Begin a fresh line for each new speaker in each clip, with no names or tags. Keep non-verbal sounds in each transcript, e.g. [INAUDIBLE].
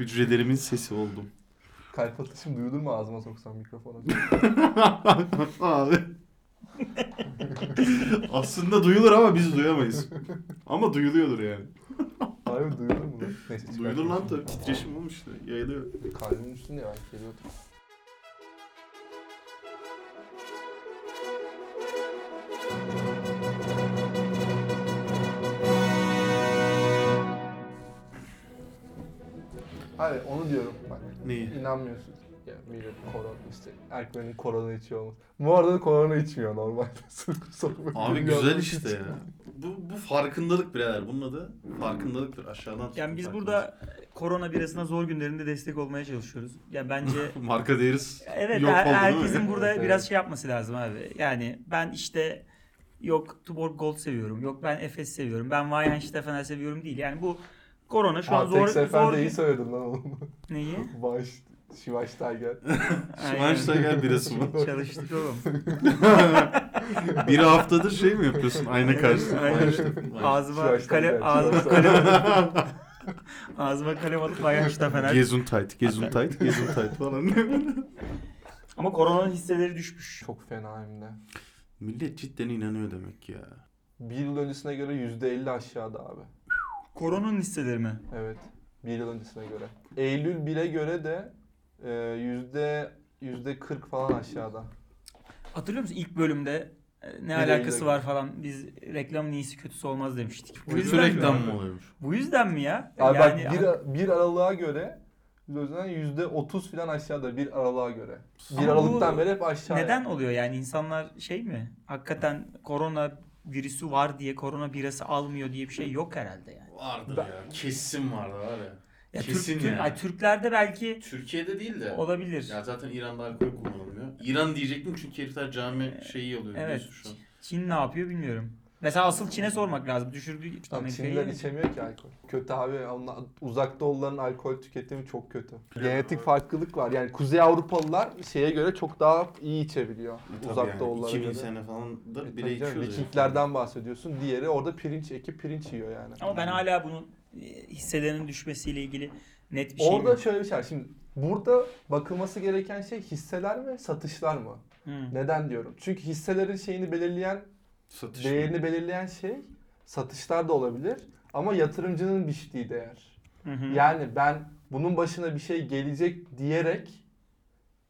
Hücrelerimin sesi oldum. [LAUGHS]
Kalp atışım duyulur mu ağzıma soksam mikrofona?
Abi. Aslında duyulur ama biz duyamayız. Ama duyuluyordur yani.
Harbi duyulur mu lan? Neyse çıkartayım.
Duyulur lan tabii. Titreşim olmuştu. Yayılıyor.
Kalbimin üstünde ya belki geliyordur. Hayır onu diyorum bak.
Neyi?
İnanmıyorsun. Ya millet korona işte erkeklerin korona içiyor olması. Bu arada da korona içmiyor normalde. [LAUGHS] Sırf sorma.
Abi
Bilmiyorum.
güzel işte ya. Bu, bu farkındalık birader. Bunun adı farkındalıktır. Aşağıdan tutun
Yani biz
farkındalık.
burada korona birasına zor günlerinde destek olmaya çalışıyoruz. Yani
[LAUGHS]
bence
marka değeriz.
evet
Yok
her-
oldu değil mi?
herkesin burada
Evet, evet.
biraz şey yapması lazım abi. Yani ben işte yok Tuborg Gold seviyorum. Yok ben Efes seviyorum. Ben Weihenstephaner seviyorum değil. Yani bu korona şu an
Aa,
zor
Tek seferde
zor
iyi söyledin lan oğlum. [LAUGHS]
[LAUGHS]
neyi?
Baş, Şivaş Tiger.
Aynen.
Şumaş gel birası
[LAUGHS]
mı?
Çalıştık oğlum.
[LAUGHS] Bir haftadır şey mi yapıyorsun? Ayna karşısında.
Aynen.
Ayna işte.
Ağzıma
Şivaş
kalem
Tiger,
ağzıma
Şivaş
kalem [LAUGHS] ağzıma kalem alıp Weihenstephaner.
Gezun tight, gezun tight, gezun tight
[LAUGHS]
falan.
Ama koronanın hisseleri düşmüş.
Çok fena hem de.
Millet cidden inanıyor demek ya.
Bir yıl öncesine göre %50 aşağıda abi.
Koronanın hisseleri mi?
Evet. Bir yıl öncesine göre. Eylül 1'e göre de e, yüzde yüzde 40 falan aşağıda.
Hatırlıyor musun ilk bölümde e, ne
Nereye
alakası
gidelim?
var falan biz reklamın iyisi kötüsü olmaz demiştik. Bu
Kötü
yüzden
reklam
mi?
mı oluyormuş?
Bu yüzden mi ya?
Abi
E, yani
bak bir, bir aralığa göre yüzde yüzde 30 falan aşağıda bir aralığa göre. Bir
Ama
aralıktan
bu
beri hep aşağıya.
neden oluyor yani insanlar şey mi? Hakikaten korona virüsü var diye korona birası almıyor diye bir şey yok herhalde yani.
Vardır
Ben-
ya. Kesin vardır var ya.
Ya
Kesin
Türk, Türk-
yani.
ay Türklerde belki
Türkiye'de değil de.
olabilir.
Ya zaten İran'da alkol kullanılmıyor. İran diyecektim çünkü herifler cami şeyi alıyor
E, evet. E,
biliyorsun şu an.
Çin ne yapıyor bilmiyorum. Mesela asıl Çin'e sormak lazım. Düşürdüğü işte
Abi
Amerika'yı.
Çinliler içemiyor ki alkol. Kötü abi. Onlar, uzak doğuların alkol tüketimi çok kötü. Genetik farklılık var. Yani Kuzey Avrupalılar şeye göre çok daha iyi içebiliyor. uzak doğulara
2000
göre.
sene falan
E,
da
tabii
bire
canım,
içiyordu.
Vikinglerden bahsediyorsun. Diğeri orada pirinç ekip pirinç yiyor yani.
Ama ben hala bunun e, hisselerinin düşmesiyle ilgili net bir şey
Orada
mi?
şöyle bir şey var. Şimdi burada bakılması gereken şey hisseler mi, satışlar mı?
Hı.
Neden diyorum? Çünkü hisselerin şeyini belirleyen,
Satış.
değerini belirleyen şey satışlar da olabilir ama yatırımcının biçtiği değer.
Hı hı.
Yani ben bunun başına bir şey gelecek diyerek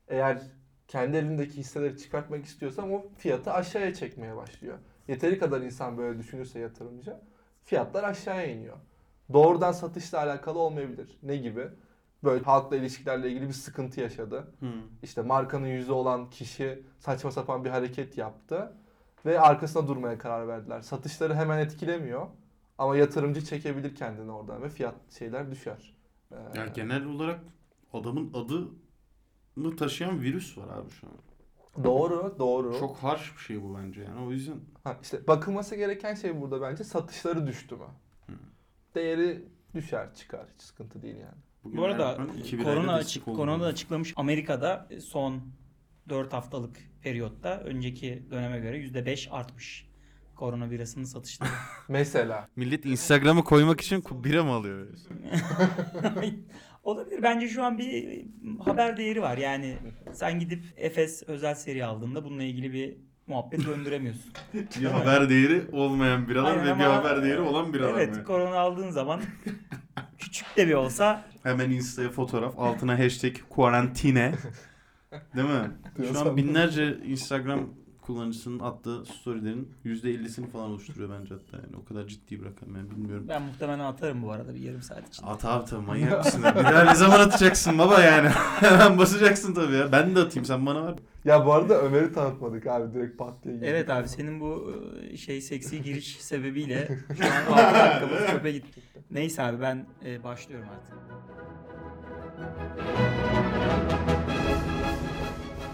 eğer kendi elimdeki hisseleri çıkartmak istiyorsam o fiyatı aşağıya çekmeye başlıyor. Yeteri kadar insan böyle düşünürse yatırımcı fiyatlar aşağıya iniyor. Doğrudan satışla alakalı olmayabilir. Ne gibi? Böyle halkla ilişkilerle ilgili bir sıkıntı yaşadı.
Hı.
İşte markanın yüzü olan kişi saçma sapan bir hareket yaptı ve arkasına durmaya karar verdiler. Satışları hemen etkilemiyor ama yatırımcı çekebilir kendini oradan ve fiyat şeyler düşer. Ee,
Ya genel olarak adamın adını taşıyan virüs var abi şu an.
doğru, doğru.
Çok harsh bir şey bu bence yani o yüzden.
Ha, işte bakılması gereken şey burada bence satışları düştü mü?
Hı.
Değeri düşer, çıkar. Hiç sıkıntı değil yani.
bugün
Bu arada
Erdoğan iki birayla
korona
destek
açık
oldu.
korona da açıklamış Amerika'da son 4 haftalık periyotta önceki döneme göre %5 artmış korona
[LAUGHS]
birasının satışları.
Mesela
Millet Instagram'a koymak için ku- bira mı alıyor?
[LAUGHS] Olabilir. Bence şu an bir haber değeri var. Yani sen gidip Efes özel seri aldığında bununla ilgili bir
[LAUGHS]
muhabbet döndüremiyorsun.
bir haber değeri olmayan biralar
Aynen
ve bir
ama- e,
haber değeri olan biralar.
evet,
mı?
korona aldığın zaman [LAUGHS] küçük de bir olsa
Hemen Insta'ya fotoğraf altına hashtag kuarantine. Değil mi? Şu an binlerce Instagram kullanıcısının attığı storylerin %50'sini falan oluşturuyor bence hatta. Yani o kadar ciddi bir rakam yani bilmiyorum.
ben muhtemelen atarım bu arada bir yarım saat içinde.
At abi tabii manyak mısın? ya? Bir daha ne zaman atacaksın baba yani? [LAUGHS] Hemen basacaksın tabii ya. Ben de atayım sen bana ver.
ya bu arada Ömer'i tanıtmadık abi direkt pat diye. girdik.
Evet abi senin bu e, şey seksi giriş sebebiyle şu an 6 dakikamız [LAUGHS] çöpe gitti. Neyse abi ben e, başlıyorum artık.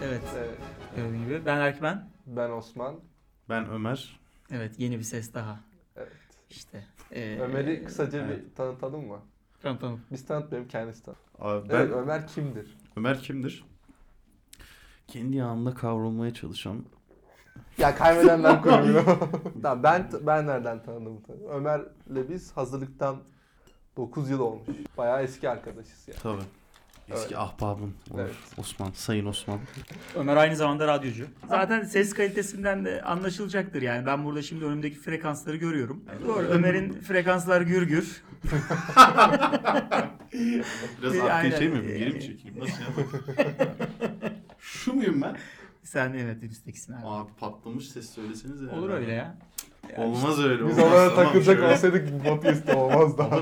Evet
Evet.
gördüğün gibi ben Erkmen.
Ee, Ben Osman.
Ben Ömer.
Evet yeni bir ses daha
Evet.
işte. E,
Ömer'i kısaca bir
Ee, evet.
tanıtalım mı?
Tamam tamam.
Biz tanıtmayalım kendisi tanıt.
Abi ben
Evet Ömer kimdir?
Ömer kimdir? Kendi yağında kavrulmaya çalışan
Ya kaybedenler [LAUGHS] koyuyor. tamam ben ben nereden tanıdım? Ömer'le biz hazırlıktan 9 yıl olmuş. Bayağı eski arkadaşız yani.
Tabii. Eski
Evet.
ahbabım olur.
Evet.
Osman, Sayın Osman.
Ömer aynı zamanda radyocu. Zaten ses kalitesinden de anlaşılacaktır yani. Ben burada şimdi önümdeki frekansları görüyorum. Doğru. Ömer'in frekanslar gürgür.
Biraz
Ee,
arkaya
aynen.
şey mi? yapayım, Geri mi
Ee,
çekeyim? Nasıl ya? [LAUGHS] Şu muyum ben?
Sen evet listedekisin abi.
Abi patlamış ses söyleseniz ya.
Olur öyle ya.
Olmaz öyle.
Biz
olmaz.
onlara
Tamam,
takılacak
şöyle.
olsaydık podcast olmaz daha.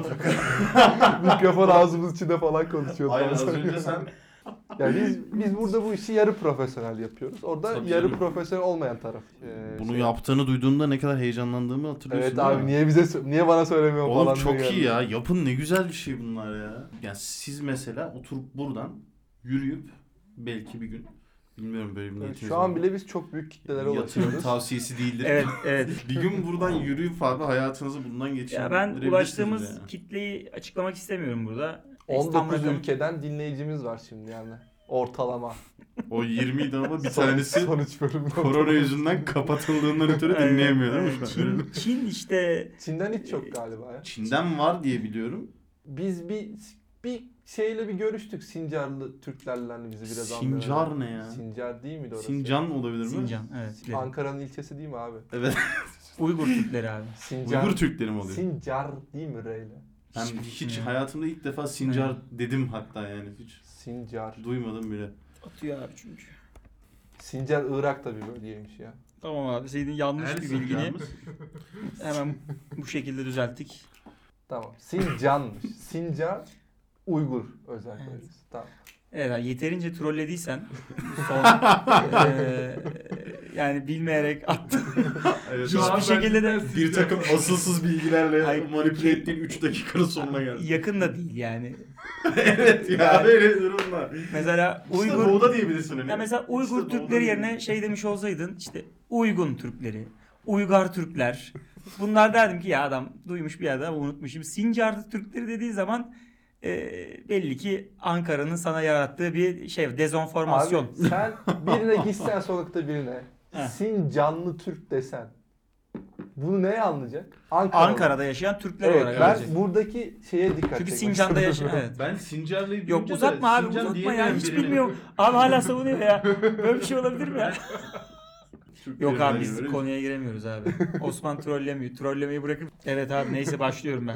[LAUGHS] Mikrofon ağzımız içinde falan konuşuyoruz.
Aynen az önce sen
Yani biz, biz burada bu işi yarı profesyonel yapıyoruz. Orada
Tabii
yarı
canım.
profesyonel olmayan taraf. ee,
bunu
şey-
yaptığını duyduğumda ne kadar heyecanlandığımı hatırlıyorsun
Evet
değil
abi
mi?
niye bize sö- niye bana söylemiyor
Oğlum
falan.
çok
diye
iyi
geldi.
ya. Yapın ne güzel bir şey bunlar ya. Yani siz mesela oturup buradan yürüyüp belki bir gün bilmiyorum böyle bir
Yani
niyetiniz
Şu
var
an
mı?
bile biz çok büyük kitlelere
yatırım
ulaşıyoruz.
tavsiyesi değildir.
Evet evet.
bir gün buradan yürüyüp abi hayatınızı bundan
Ya
geçirebilirsiniz.
ben ulaştığımız
yani.
kitleyi açıklamak istemiyorum burada. İstanbul
19
rakamı-
ülkeden dinleyicimiz var şimdi yani. Ortalama.
O 20 idi ama bir
Son-
tanesi
son üç bölümde.
korona yüzünden kapatıldığından ötürü dinleyemiyor değil mi
[LAUGHS] Evet,
şu an?
Çin, Çin işte
Çin'den hiç yok galiba ya.
Çin'den var diye biliyorum.
Biz bir bir şeyle bir görüştük Sincarlı Türklerle hani bizi biraz anlıyorlar.
Sincar ne ya?
Sincar değil miydi orası?
Sincan olabilir mi?
Sincan evet.
Ankara'nın ilçesi değil mi abi?
Evet.
Uygur Türkleri abi.
Sincar.
Uygur Türkleri mi oluyor?
Sincar değil mi Reyla?
Ben
Hiç-
hiç
Hmm.
hayatımda ilk defa Sincar dedim hatta yani hiç
Sincar.
duymadım bile.
Atıyor abi çünkü.
Sincar Irak'ta bir bölgeymiş ya.
Tamam abi senin yanlış bir
Ersin
bilgini
yalnız.
hemen bu şekilde düzelttik.
Tamam. Sincan'mış. Sincar Uygur özel
Evet.
bölgesi. Tamam.
Evet abi,
[LAUGHS]
yeterince trollediysen son eee, yani bilmeyerek attın.
Evet,
Hiçbir
abi.
şekilde de
bir takım asılsız bilgilerle
Hayır.
manipüle ettiğin 3 dakikanın sonuna geldi.
yakın da değil yani.
[LAUGHS] evet ya
Yani-
böyle durumlar.
Mesela
Uygur. İşte
Uygur
doğuda diyebilirsin hani.
ya mesela Uygur
İşte doğuda
Türkleri yerine
diyebilirsin.
şey demiş olsaydın işte Uygun Türkleri, Uygar Türkler. Bunlar derdim ki ya adam duymuş bir yerde ama unutmuş. Şimdi Sincarlı Türkleri dediği zaman eee, belli ki Ankara'nın sana yarattığı bir şey dezonformasyon.
Abi sen birine gitsen sokakta birine
[LAUGHS] Heh.
Sincanlı Türk desen bunu neye anlayacak? Ankara'da.
Ankara'da yaşayan Türkler
Evet
olarak
ben
görecek.
buradaki şeye dikkat
Çünkü
çekmek
Sincan'da
istiyorum.
yaşayan evet.
Ben Sincarlı'yı
Yok
duyunca da
uzatma abi
Sincan
uzatma ya
diyemeyen
hiç
birini-
bilmiyorum. Abi hala savunuyor ya. Böyle bir şey olabilir mi ya?
Türkleri
Yok abi
yani
biz
böyle-
konuya
[LAUGHS]
giremiyoruz abi. Osman trollemiyor. Trollemeyi bırakıp evet abi neyse
[LAUGHS]
başlıyorum ben.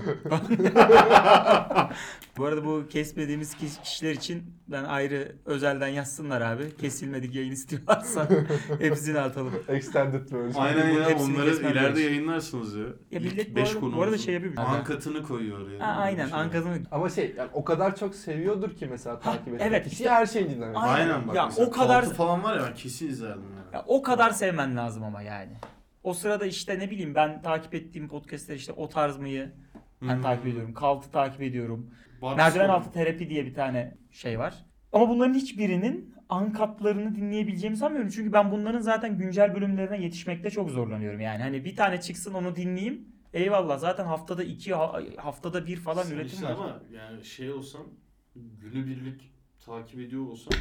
bu arada bu kesmediğimiz kiş- kişiler için ben ayrı özelden yazsınlar abi. Kesilmedik yayın istiyorlarsa
[LAUGHS]
hepsini atalım.
[LAUGHS] Extended version.
Aynen ya
Hepsini
onları
kesmem
ileride
gerekiyor.
yayınlarsınız ya.
Ya
İlk
millet bu
beş
arada- bu
konumuzun
arada şey yapıyor.
Ankatını koyuyor oraya.
Ha, aynen
Böyle bir şey.
Ankara'nın
Ama şey yani o kadar çok seviyordur ki mesela takip eden
evet,
kişi
işte-
her şeyi dinlemek.
Aynen.
Aynen bak.
Ya,
mesela
o kadar-
Kaltı falan var ya ben kesin izlerdim yani.
Ya o kadar sevmen lazım ama yani. O sırada işte ne bileyim ben takip ettiğim podcastler işte o tarz mıyı ben
Hmm.
Hı.
takip ediyorum. Kaltı takip ediyorum.
Bart
Merdiven
Stone.
altı terapi diye bir tane şey var. Ama bunların hiçbirinin ankatlarını dinleyebileceğimi sanmıyorum. Çünkü ben bunların zaten güncel bölümlerine yetişmekte çok zorlanıyorum. Yani hani bir tane çıksın onu dinleyeyim. Eyvallah zaten haftada iki ha- haftada bir falan
Sen
üretim
işte
var.
Ama yani şey olsam günübirlik takip ediyor olsam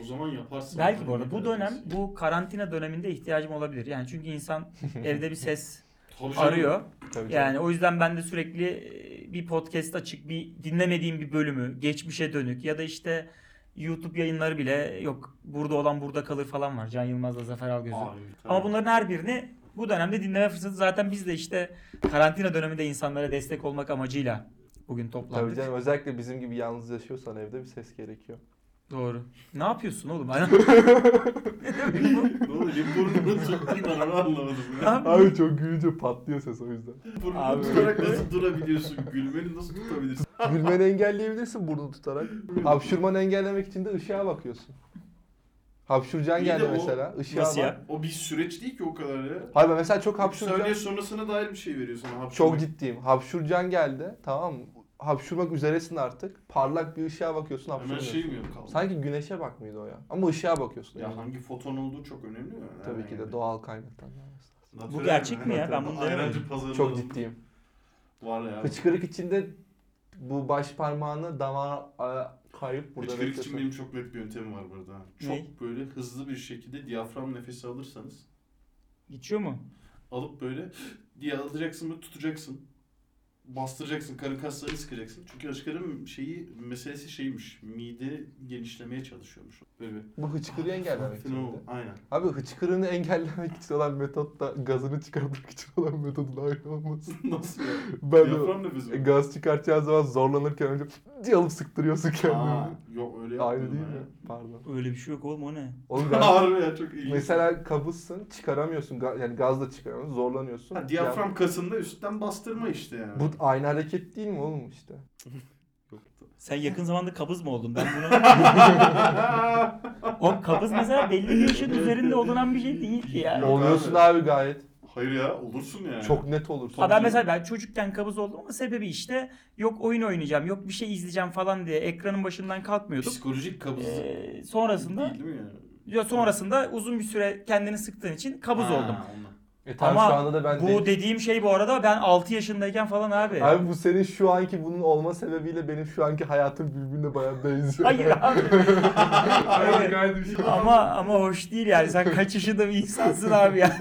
o zaman yaparsın.
Belki
Yani
bu arada
ne
bu
kadar
dönem
iyisin.
bu karantina döneminde ihtiyacım olabilir. Yani çünkü insan evde bir ses
Tabii canım.
arıyor.
Tabii
Yani o yüzden ben de sürekli e, bir podcast açık, bir dinlemediğim bir bölümü, geçmişe dönük ya da işte YouTube yayınları bile yok burada olan burada kalır falan var. Can Yılmaz'la Zafer Algöz'ü.
Abi, tabii.
Ama bunların her birini bu dönemde dinleme fırsatı zaten biz de işte karantina döneminde insanlara destek olmak amacıyla
canım.
bugün
Tabii
toplandık.
canım özellikle bizim gibi yalnız yaşıyorsan evde bir ses gerekiyor.
Doğru. Ne yapıyorsun oğlum? Aynen.
Ne oluyor? Bir
[LAUGHS]
Burnunu tuttun ben onu anlamadım
Ne
ya.
yap-
Abi çok gülünce patlıyor ses o yüzden.
Burnunu
Abi.
tutarak nasıl durabiliyorsun? Gülmeni nasıl tutabilirsin?
Gülmeni engelleyebilirsin burnunu tutarak. Hapşurmanı engellemek için de ışığa bakıyorsun. Hapşuracaksın
İyi de
geldi
o-
mesela. Işığa
Nasıl
bak.
ya?
O bir süreç değil ki o kadar ya.
Hayır ben mesela çok
Üç saniye
hapşuracağım.
sonrasına dair bir şey veriyor sana. hapşurma.
Çok ciddiyim. Hapşuracaksın geldi. Tamam mı? Hapşurmak üzeresin artık. Parlak bir ışığa bakıyorsun
Hemen
hapşuruyorsun.
şey mi yok kaldı?
Sanki güneşe bak mıydı o ya? Ama ışığa bakıyorsun.
Ya
yani.
hangi foton olduğu çok önemli mi?
Tabii ki de doğal kaynaktan.
Natural
Bu gerçek mi ya? Ben bunu
Ayrancı
denemedim.
pazarında
Çok ciddiyim.
Var ya.
Hıçkırık içinde bu baş parmağını damağa a- kayıp burada
Hıçkırık için
bekletiyorsun.
benim çok net bir yöntemim var burada. Çok
Ne?
böyle hızlı bir şekilde diyafram nefesi alırsanız
Geçiyor mu?
alıp böyle diye alacaksın ve tutacaksın. bastıracaksın, karın kaslarını sıkacaksın. Çünkü aşkarın şeyi, meselesi şeymiş, mide genişlemeye çalışıyormuş. Böyle bir
Bu hıçkırığı engellemek için.
fenomen-
bir de.
Aynen. [LAUGHS]
Abi hıçkırığını engellemek için olan metot da gazını çıkarmak için olan metodun aynı olması.
Nasıl ya?
Ben de e,
Diyafram nefesi mi?
gaz çıkartacağı zaman zorlanırken önce diye alıp sıktırıyorsun
Aa,
kendini.
yok öyle
Aynı
yapmıyorum
değil
ben
mi? Pardon.
Öyle bir şey yok oğlum o ne?
Oğlum
ya. [LAUGHS]
gaz,
Harbi ya çok iyi.
mesela kabızsın çıkaramıyorsun Ga- yani gazla çıkaramıyorsun zorlanıyorsun.
Ha, diyafram kasında üstten bastırma işte yani.
Bu aynı hareket değil mi oğlum işte?
Sen yakın zamanda kabız mı oldun? Ben bunu... Oğlum kabız mesela belli bir yaşın üzerinde olunan bir şey değil ki ya.
Yok
Oluyorsun
abi.
abi gayet.
[LAUGHS] Hayır ya olursun yani.
Çok net olursun.
Ha ben mesela ben çocukken kabız oldum ama sebebi işte yok oyun oynayacağım, yok bir şey izleyeceğim falan diye ekranın başından kalkmıyordum.
Psikolojik kabızlık
Ee, sonrasında
değil değil mi yani?
ya sonrasında uzun bir süre kendini sıktığın için kabız
Ha,
oldum.
ondan.
E tamam
Ama
şu anda da ben
Bu
değilim.
dediğim şey bu arada ben 6 yaşındayken falan abi.
Abi bu senin şu anki bunun olma sebebiyle benim şu anki hayatım birbirine bayağı benziyor.
Hayır abi. Öyle.
Gayet bir şey.
ama ama hoş değil yani sen kaç yaşında bir insansın abi ya.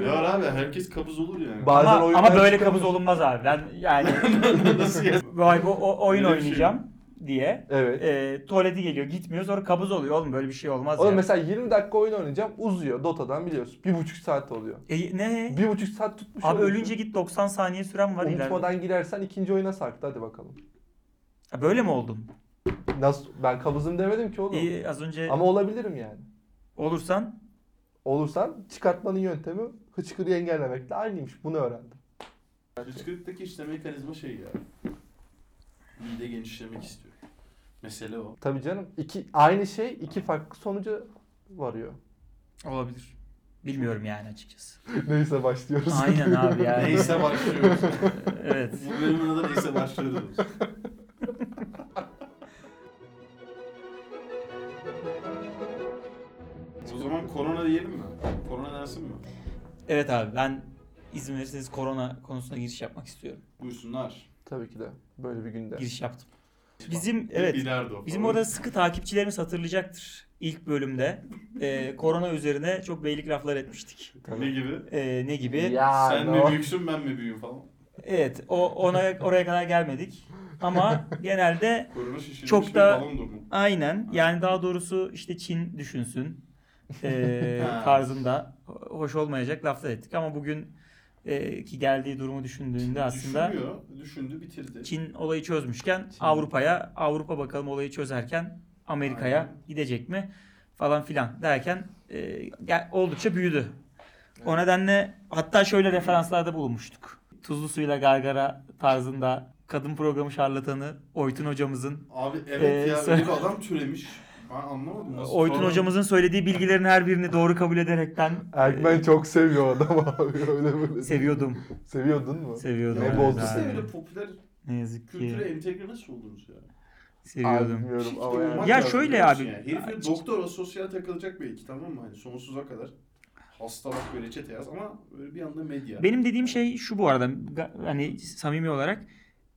Ne var abi herkes kabız olur yani.
Bazen
ama,
oyundan
ama böyle
çıkamıyorsun.
kabız olunmaz abi. Ben yani
[LAUGHS] Nasıl ya?
vay bu o- oyun
Öyle bir şey.
oynayacağım diye
Evet.
e, tuvaleti geliyor gitmiyor sonra kabız oluyor oğlum böyle bir şey olmaz
Oğlum
ya.
mesela 20 dakika oyun oynayacağım uzuyor Dota'dan biliyorsun. Bir buçuk saat oluyor.
E, ne?
Bir şey buçuk saat tutmuş
Abi
oluyorsun.
ölünce git 90 saniye süren var ileride.
Unutmadan girersen ikinci oyuna sarktı hadi bakalım.
Ha, Böyle mi oldum?
Nasıl ben kabızım demedim ki oğlum.
İyi e, az önce
Ama olabilirim yani.
olursan
Olursan çıkartmanın yöntemi hıçkırığı engellemekle aynıymış. Bunu öğrendim.
Hıçkırıktaki işte mekanizma şey ya. Mide genişlemek istiyor. Mesele o.
Tabii canım. İki, aynı şey iki farklı sonuca varıyor. [LAUGHS]
olabilir. Bilmiyorum yani açıkçası.
Neyse başlıyoruz.
Aynen abi yani.
Neyse başlıyoruz.
[LAUGHS] Evet.
Bu bölümün adı neyse başlıyoruz. o zaman korona diyelim mi? Korona dersin mi?
Evet abi ben izin verirseniz korona konusuna giriş yapmak istiyorum.
Buyursunlar.
Tabii ki de. Böyle bir günde.
Giriş yaptım. Bizim evet
Bilardo.
bizim orada sıkı takipçilerimiz hatırlayacaktır. İlk bölümde e, korona üzerine çok beylik laflar etmiştik.
Ne gibi?
E, ne gibi?
Ya,
Sen
no.
mi büyüksün ben mi büyüğüm falan.
Evet o ona oraya kadar gelmedik. Ama genelde
Korona şişirmiş
Çok
bir
da-
balon durumu.
Aynen. Yani daha doğrusu işte Çin düşünsün eee,
Ha.
tarzında hoş olmayacak laflar ettik. Ama bugün eee, ki geldiği durumu düşündüğünde aslında
Düşünüyor, düşündü bitirdi.
Çin olayı çözmüşken
Çin.
Avrupa'ya, Avrupa bakalım olayı çözerken Amerika'ya
Aynen.
gidecek mi falan filan derken eee, gel- oldukça büyüdü. O nedenle hatta şöyle referanslarda bulunmuştuk. Tuzlu suyla gargara tarzında kadın programı şarlatanı Oytun hocamızın
Abi
Ee,
evet ya
sen-
öyle bir adam türemiş. Ben anlamadım nasıl.
Oytun
Sonra-
hocamızın söylediği bilgilerin her birini doğru kabul ederekten e,
Erkmen çok seviyor adamı abi. Öyle böyle.
seviyordum.
Seviyordun mu?
Seviyordum.
Ne
evet
bozdu
abi.
Siz de böyle popüler
Ne yazık
kültüre
ki
entegre nasıl oldunuz ya?
Abi
seviyordum.
bilmiyorum
Çift
ama
olmak
yani.
Ya
lazım
şöyle
biliyor musun
abi.
yani? Herifin doktora sosyal takılacak belki tamam mı? Hani sonsuza kadar. Hasta bak böyle reçete yaz ama böyle bir anda medya.
Benim dediğim şey şu bu arada ga- hani samimi olarak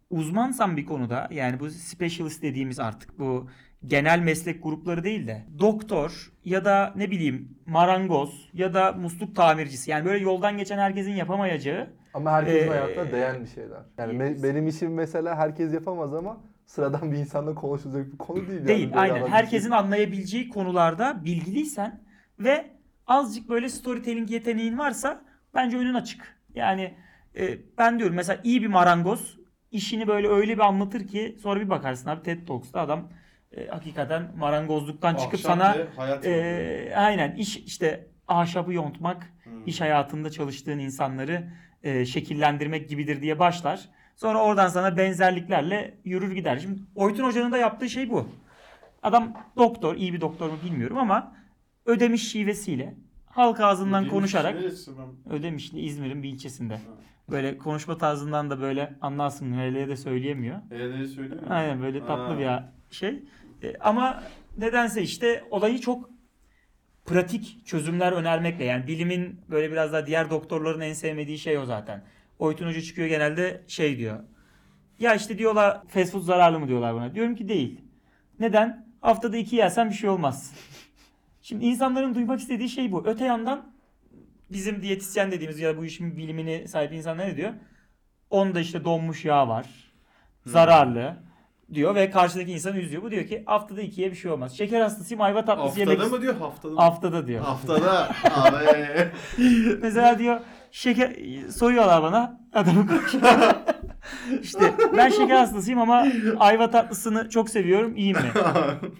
uzmansan bir konuda yani bu specialist dediğimiz artık bu genel meslek grupları değil de doktor ya da ne bileyim marangoz ya da musluk tamircisi yani böyle yoldan geçen herkesin yapamayacağı
Ama herkesin
Ee,
hayatına değen bir şeyler. Yani me- benim işim mesela herkes yapamaz ama sıradan bir insanla konuşulacak bir konu değil. yani.
Değil
Böyle
aynen.
adam-
Herkesin anlayabileceği konularda bilgiliysen ve azıcık böyle storytelling yeteneğin varsa bence önün açık. Yani e, ben diyorum mesela iyi bir marangoz işini böyle öyle bir anlatır ki sonra bir bakarsın abi TED Talks'ta adam e, hakikaten marangozluktan çıkıp
Ahşap
sana
ve hayat yolu.
e, aynen iş işte ahşabı yontmak,
Hmm.
iş hayatında çalıştığın insanları e, şekillendirmek gibidir diye başlar. Sonra oradan sana benzerliklerle yürür gider. Şimdi Oytun Hoca'nın da yaptığı şey bu. Adam doktor, iyi bir doktor mu bilmiyorum ama ödemiş şivesiyle halk ağzından
Dediğimiz
konuşarak
neresi ben-
Ödemişli İzmir'in bir ilçesinde. Böyle konuşma tarzından da böyle anlarsın nereye de söyleyemiyor.
E'leri söyleyeyim mi?
Aynen böyle tatlı
Ha.
bir şey. E, ama nedense işte olayı çok pratik çözümler önermekle yani bilimin böyle biraz daha diğer doktorların en sevmediği şey o zaten. Oytun Hoca çıkıyor genelde şey diyor. Ya işte diyorlar fast food zararlı mı diyorlar buna. Diyorum ki değil. Neden? Haftada iki yersen bir şey olmaz. Şimdi insanların duymak istediği şey bu. Öte yandan bizim diyetisyen dediğimiz ya da bu işin bilimini sahip insanlar ne diyor? Onda işte donmuş yağ var.
Hmm.
Zararlı diyor ve karşıdaki insanı üzüyor. Bu diyor ki haftada ikiye bir şey olmaz. Şeker hastasıyım ayva tatlısı yemek
Haftada mı diyor haftada mı?
haftada diyor.
Haftada. Abi. [LAUGHS]
Mesela diyor şeker soyuyorlar bana
[LAUGHS]
adamı koşuyor. işte ben şeker hastasıyım ama ayva tatlısını çok seviyorum iyi mi?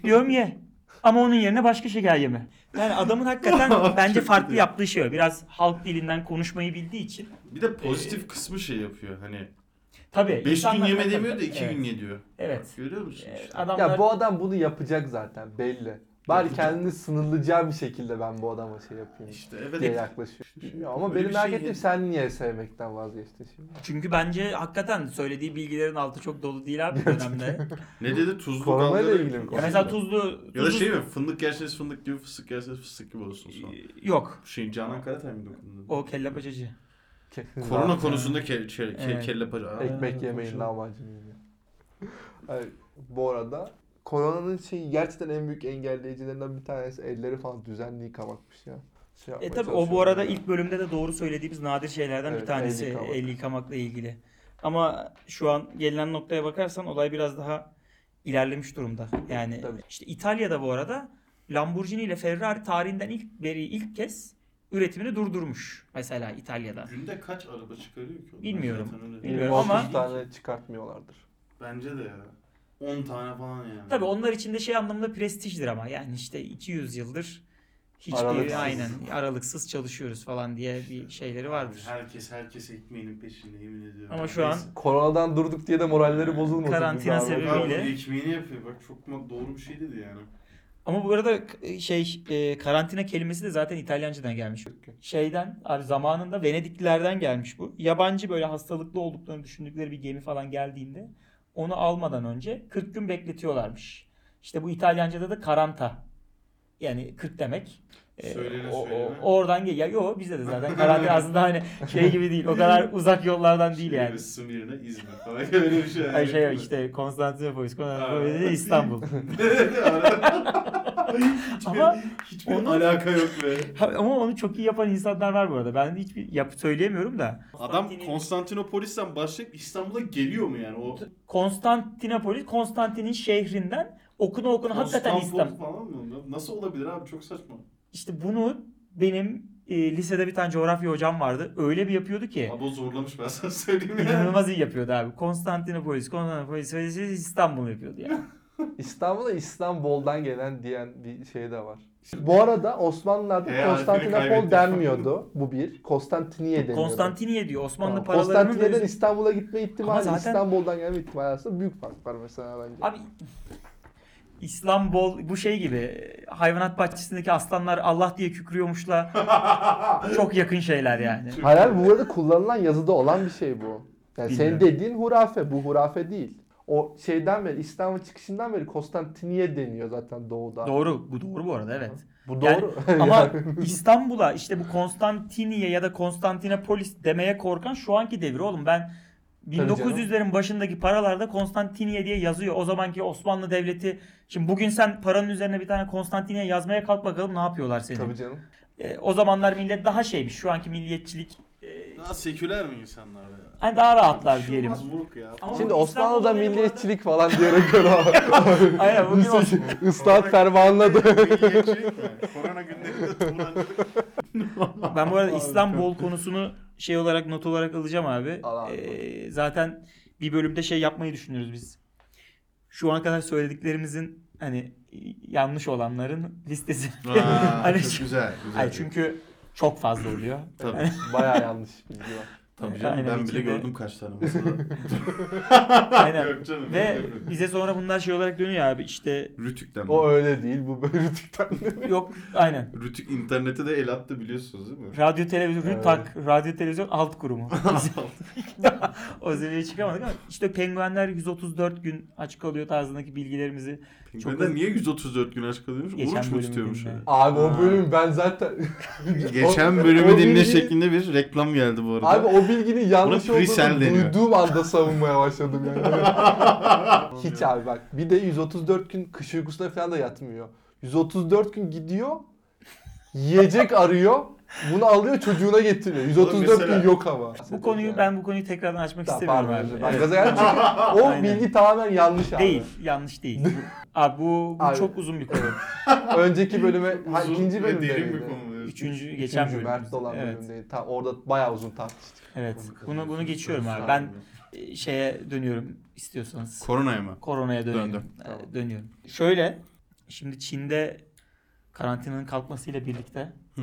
Diyorum ye. Ama onun yerine başka şeker yeme. Yani
[LAUGHS]
adamın hakikaten bence
Çok
farklı
kötü.
yaptığı şey o. Biraz halk dilinden konuşmayı bildiği için.
bir de pozitif kısmı şey yapıyor hani.
Tabii.
5 gün
E- insanlar-
yeme demiyor da 2
Evet.
gün ye diyor.
Evet.
Görüyor musun
Evet,
işte?
Adamlar
şey- Ya bu adam bunu yapacak zaten belli. Bari kendini sınırlayacağı bir şekilde ben bu adama şey yapayım
İşte evet.
diye yaklaşıyor. Ya ama
Böyle
benim
bir
merak
şey
ettiğim
yedi.
sen niye sevmekten vazgeçtin şimdi?
çünkü bence hakikaten söylediği bilgilerin altı çok dolu
[LAUGHS]
değil abi bu dönemde.
Ne dedi tuzlu
Koronayla
dalgalı-
ilgili mi
ya mesela tuzlu,
Ya da
tuzlu-
şey mi? Fındık yerseniz fındık gibi, fıstık yerseniz fıstık gibi olsun sonra.
yok.
Şeyin Canan Karatay mı dokundu?
O kelle paçacı.
Korona konusunda ke, şey, ke,
Evet.
kelle paça. Aa,
Ekmek yemeyin
konuşalım.
lahmacun yiyin. Hayır, bu arada koronanın şey gerçekten en büyük engelleyicilerinden bir tanesi elleri falan düzenli yıkamakmış ya. Şey
E
yapmaya
tabi o bu
çalışıyorum
arada
ya.
ilk bölümde de doğru söylediğimiz nadir şeylerden bir
Evet,
tanesi
el yıkamak.
el yıkamakla ilgili. Ama şu an gelinen noktaya bakarsan olay biraz daha ilerlemiş durumda. Yani
Tabii.
işte İtalya'da bu arada Lamborghini ile Ferrari tarihinden ilk beri ilk kez üretimini durdurmuş mesela İtalya'da.
Günde kaç araba çıkarıyor ki? onlar?
Bilmiyorum.
Zaten öyle.
Bilmiyorum
Minimum
ama-
30 tane çıkartmıyorlardır.
Bence de ya. 10 tane falan yani.
Tabi onlar için de şey anlamında prestijdir ama yani işte 200 yıldır hiçbir
Aralıksız.
aynen aralıksız çalışıyoruz falan diye bir şeyleri vardır.
Herkes herkes ekmeğinin peşinde yemin ediyorum.
Ama şu an-
Neyse.
Koronadan durduk diye de moralleri bozulmasın.
Ee, Karantina
Biz abi-
sebebi-
Ya bu
Sebebiyle-
ekmeğini yapıyor bak çok ma- doğru bir şey dedi yani.
Ama bu arada k- şey e, karantina kelimesi de zaten İtalyancadan gelmiş. Şeyden abi zamanında Venediklilerden gelmiş bu. Yabancı böyle hastalıklı olduklarını düşündükleri bir gemi falan geldiğinde onu almadan önce 40 gün bekletiyorlarmış. İşte bu İtalyanca'da da karanta. Yani 40 demek. E,
Söylene
o- o-
söylene.
oradan gel. Ya yok bizde de zaten karantina aslında hani şey gibi değil. O
[LAUGHS]
kadar uzak yollardan değil
Şey
yani.
gibi, Smirne, İzmir falan [LAUGHS] öyle bir şey. yani.
Ay şey işte Konstantinopolis, Konstantinopolis,
[LAUGHS]
İstanbul. [LAUGHS]
hiçbir,
Ama
hiçbir
onun-
alaka yok be.
Ha, Ama onu çok iyi yapan insanlar var bu arada. Ben hiçbir yap söyleyemiyorum da.
Adam
Konstantini-
Konstantinopolis'ten başlayıp İstanbul'a geliyor mu yani? O
Konstantinopolis, Konstantin'in şehrinden okuna okuna hakikaten
Konstantinopol
İslam.
falan mı? Nasıl olabilir abi çok saçma.
İşte bunu benim e, lisede bir tane coğrafya hocam vardı. Öyle bir yapıyordu ki.
Abi o zorlamış ben sana söyleyeyim yani.
inanılmaz iyi yapıyordu abi. Konstantinopolis, Konstantinopolis, İstanbul yapıyordu yani.
İstanbul'a İstanbul'dan gelen diyen bir şey de var. Bu arada Osmanlılar'da
E, harfini
Konstantinopol
kaybettik.
denmiyordu. Bu bir. Konstantiniye deniyordu.
Konstantiniye diyor. Osmanlı
Tamam.
paralarının
Konstantiniyye'den
böyle-
İstanbul'a gitme
Ama
ihtimali,
zaten-
İstanbul'dan gelme ihtimali arasında büyük fark var mesela bence.
Abi İstanbul bu şey gibi hayvanat bahçesindeki aslanlar Allah diye kükrüyormuşla çok yakın şeyler yani.
Hayır abi bu arada kullanılan yazıda olan bir şey bu. Yani senin
Bilmiyorum.
dediğin hurafe, bu hurafe değil. O şeyden beri, İstanbul çıkışından beri Konstantiniye deniyor zaten doğuda.
Doğru. Bu doğru bu arada evet.
Bu
Yani-
doğru. [LAUGHS]
Ama İstanbul'a işte bu Konstantiniye ya da Konstantinopolis demeye korkan şu anki devir oğlum. Ben
canım.
1900'lerin başındaki paralarda Konstantiniye diye yazıyor. O zamanki Osmanlı Devleti. Şimdi bugün sen paranın üzerine bir tane Konstantiniye yazmaya kalk bakalım ne yapıyorlar seni.
Tabii canım.
E, o zamanlar millet daha şeymiş. Şu anki milliyetçilik e,
Daha seküler mi insanlar ya?
hani daha rahatlar
Şu
diyelim.
olmaz Moruk ya.
Ama
Şimdi
bu
Osmanlı'da
İstanbul'da benim
milliyetçilik falan diyerek göre
[LAUGHS]
[LAUGHS]
Aynen, bugün Osman-
Islat
[LAUGHS]
fermanladı.
Milliyetçilik mi? Korona günlerinde Tuğrancılık.
Ben bu arada İslam bol konusunu şey olarak not olarak alacağım abi.
Al abi.
Ee, zaten bir bölümde şey yapmayı düşünüyoruz biz. Şu ana kadar söylediklerimizin hani yanlış olanların listesi.
[LAUGHS] Aa,
Hani
çok
çünkü-
güzel. güzel.
Ay çünkü çok fazla oluyor.
Tabii,
Bayağı yanlış bilgi var.
tabii canım
Aynen,
ben bile
içinde-
gördüm kaç
[LAUGHS]
tane masada.
Aynen.
Yok canım.
Ve
yok, yok.
bize sonra bunlar şey olarak dönüyor abi işte
Rütük'ten.
O
bak.
öyle değil, bu böyle tükten.
yok aynen.
Rütük internete de el attı biliyorsunuz değil mi?
Radyo televizyon
Evet.
RÜTAK, radyo televizyon alt kurumu. o seviyeye çıkamadık ama işte penguenler 134 gün aç kalıyor tarzındaki bilgilerimizi
Penguenler
hızlı-
niye 134 gün aç kalıyormuş?
Geçen
Oruç mu
bölümü
tutuyormuş?
dinle.
öyle?
Abi o
Ha.
bölüm ben zaten...
Geçen
[LAUGHS] O-
bölümü
o
dinle
bilgi-
şeklinde bir reklam geldi bu arada.
Abi o bilginin yanlış
Buna pre-sell
olduğunu
deniyor.
duyduğum anda savunmaya başladım
[LAUGHS]
yani. Hiç abi bak. Bir de 134 gün kış uykusuna falan da yatmıyor. 134 gün gidiyor. Yiyecek arıyor. Bunu alıyor çocuğuna getiriyor. 134
mesela-
bin yok ama.
Bu konuyu ben bu konuyu tekrardan açmak
Tamam,
istemiyorum
pardon.
abi.
Ben
Evet.
gaza geldim çünkü o
Aynen.
bilgi tamamen yanlış abi.
Değil,
[LAUGHS]
yanlış değil. abi bu, bu
Abi.
çok uzun bir konu.
Önceki bölüme, ha,
Uzun
ikinci
ve
bölümde.
derin bir
miydi?
konu. evet.
Üçüncü geçen
Üçüncü
bölüm.
Mert Dolan
evet,
bölümdeydi. Ta, orada bayağı uzun tartıştık. [LAUGHS]
evet. Bunu bunu geçiyorum abi. Ben e, şeye dönüyorum istiyorsanız.
Koronaya mı?
Koronaya dönüyorum.
Döndüm.
Ee,
Tamam.
Dönüyorum. Şöyle şimdi Çin'de karantinanın kalkmasıyla birlikte
Hı.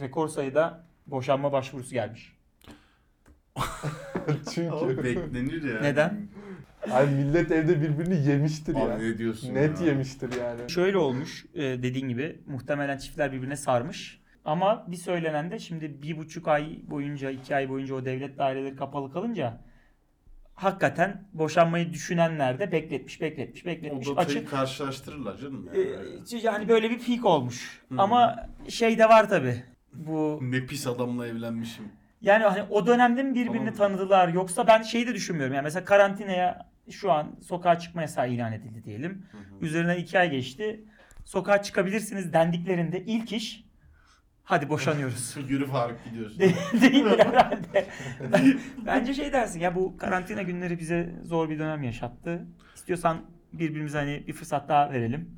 rekor sayıda boşanma başvurusu gelmiş.
çünkü
Beklenir ya.
Neden?
abi millet evde birbirini yemiştir ya.
Abi ne diyorsun
Net
ya?
yemiştir yani.
Şöyle olmuş e, dediğin gibi muhtemelen çiftler birbirine sarmış. Ama bir söylenen de şimdi bir buçuk ay boyunca iki ay boyunca o devlet daireleri kapalı kalınca hakikaten boşanmayı düşünenler de bekletmiş bekletmiş bekletmiş.
O
Açık
datayı karşılaştırırlar canım. ya.
Ee, yani böyle bir peak olmuş.
şey- Hı.
Ama şey de var tabi. Bu
Ne pis adamla evlenmişim.
yani hani o dönemde mi birbirini
Tamam.
tanıdılar yoksa ben şeyi de düşünmüyorum. Yani mesela karantinaya şu an sokağa çıkma yasağı ilan edildi diyelim. Üzerinden iki ay geçti. Sokağa çıkabilirsiniz dendiklerinde ilk iş hadi
[LAUGHS]
boşanıyoruz. [LAUGHS]
Yürü Faruk gidiyorsun.
Değil mi herhalde? Ben- Bence şey dersin ya bu karantina günleri bize zor bir dönem yaşattı. İstiyorsan birbirimize hani bir fırsat daha verelim.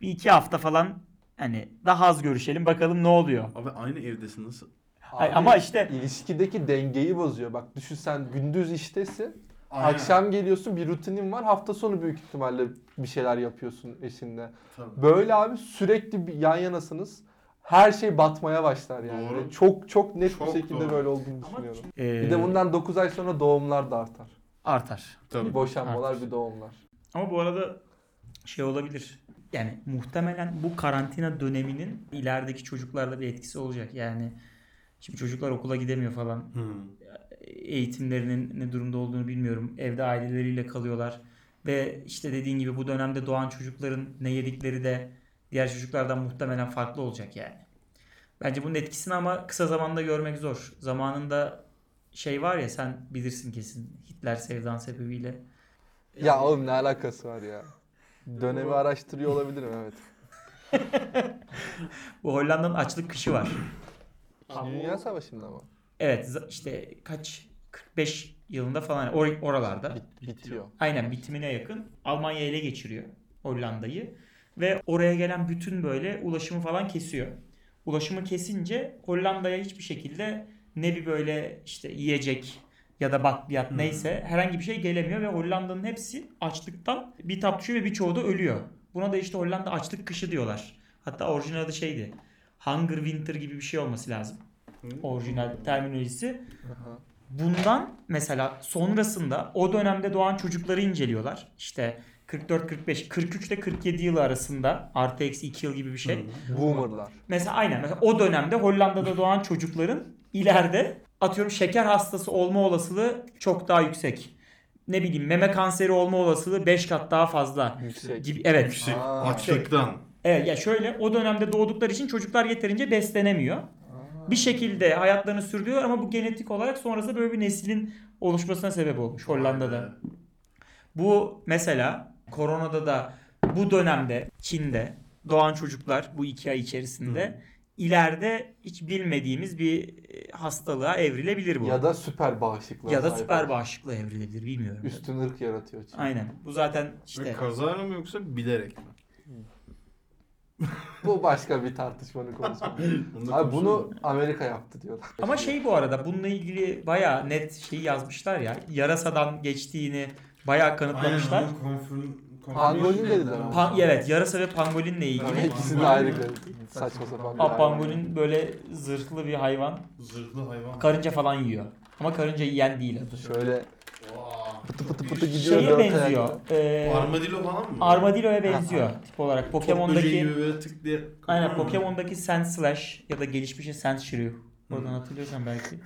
Bir iki hafta falan hani daha az görüşelim bakalım ne oluyor.
Abi aynı evdesin nasıl?
Ay,
Abi,
ama işte
ilişkideki dengeyi bozuyor. Bak düşün sen gündüz iştesin, akşam geliyorsun bir rutinin var, hafta sonu büyük ihtimalle bir şeyler yapıyorsun eşinle.
Tabii.
Böyle abi sürekli bir yan yanasınız. Her şey batmaya başlar yani.
Doğru.
Çok çok net
Çok
bir şekilde
doğru.
böyle olduğunu düşünüyorum.
e,
Bir de bundan 9 ay sonra doğumlar da artar.
artar.
Tabii.
Bir boşanmalar,
Artar.
bir doğumlar.
Ama bu arada şey olabilir. Yani muhtemelen bu karantina döneminin ilerideki çocuklarda bir etkisi olacak. Yani şimdi çocuklar okula gidemiyor falan.
Hı.
eğitimlerinin ne durumda olduğunu bilmiyorum. Evde aileleriyle kalıyorlar ve işte dediğin gibi bu dönemde doğan çocukların ne yedikleri de diğer çocuklardan muhtemelen farklı olacak yani. Bence bunun etkisini ama kısa zamanda görmek zor. Zamanında şey var ya sen bilirsin kesin Hitler sevdan sebebiyle.
Ya oğlum ne alakası var ya? Dönemi araştırıyor olabilirim evet.
Bu Hollanda'nın açlık kışı var.
Ama
Dünya Savaşı'nda mı?
Evet za- işte kaç 45 yılında falan or- oralarda.
Bit- bitiyor.
Aynen bitimine yakın. Almanya ele geçiriyor Hollanda'yı. Ve oraya gelen bütün böyle ulaşımı falan kesiyor. Ulaşımı kesince Hollanda'ya hiçbir şekilde ne bir böyle işte yiyecek ya da bakliyat
Hmm.
neyse herhangi bir şey gelemiyor ve Hollanda'nın hepsi açlıktan bitap düşüyor ve birçoğu da ölüyor. Buna da işte Hollanda açlık kışı diyorlar. Hatta orijinal adı şeydi. Hunger Winter gibi bir şey olması lazım.
Hı.
Orijinal terminolojisi.
Aha.
Bundan mesela sonrasında o dönemde doğan çocukları inceliyorlar. İşte 44, 45, 43 ile 47 yılı arasında artı eksi 2 yıl gibi bir şey.
Hı.
Boomerlar.
Mesela aynen mesela o dönemde Hollanda'da doğan çocukların ileride atıyorum şeker hastası olma olasılığı çok daha yüksek. Ne bileyim meme kanseri olma olasılığı 5 kat daha fazla
Yüksek.
gibi. Evet.
Yüksek
Aa. şey,
açlıktan.
Evet ya şöyle o dönemde doğdukları için çocuklar yeterince beslenemiyor. Bir şekilde hayatlarını sürdürüyor ama bu genetik olarak sonrasında böyle bir neslin oluşmasına sebep olmuş Hollanda'da. Bu mesela koronada da bu dönemde Çin'de doğan çocuklar bu iki ay içerisinde ileride hiç bilmediğimiz bir e, hastalığa evrilebilir bu.
Ya da süper bağışıklığa
ya da
sahip.
süper bağışıklığa evrilebilir bilmiyorum.
Üstün ırk yaratıyor. Çin.
Aynen. Bu zaten
Ve
işte
kazara mı yoksa bilerek mi?
Bu başka bir tartışmanın
[LAUGHS]
konusu.
Bunu da
Abi
konuşalım.
bunu Amerika yaptı diyorlar.
Ama şey bu arada bununla ilgili bayağı net şeyi yazmışlar ya. Yarasadan geçtiğini bayağı kanıtlamışlar.
Aynen, onu confirm- confirm-
Pangolin dediler ama.
Pa- evet yarasa ve pangolinle
Yani
ilgili.
ikisini de ayrı gör- Saçma sapan. bir
Ha,
hayvan.
pangolin böyle zırhlı bir hayvan.
Zırhlı hayvan.
Karınca falan yiyor. Ama karınca yiyen değil.
Şöyle
Vaa,
pıtı
çok
pıtı pıtı
Ee,
değişik.
gidiyor.
Şeye
dört
benziyor.
ayaklı.
Ee,
Armadillo falan mı?
Armadillo'ya benziyor tip olarak.
Top böceği
Pokemon'daki
gibi Hmm. böyle tık diye.
Aynen
Kapıyor mu?
Pokemon'daki Sand Slash ya da gelişmişin Sand Shrew. Oradan hatırlıyorsan belki.
Hmm.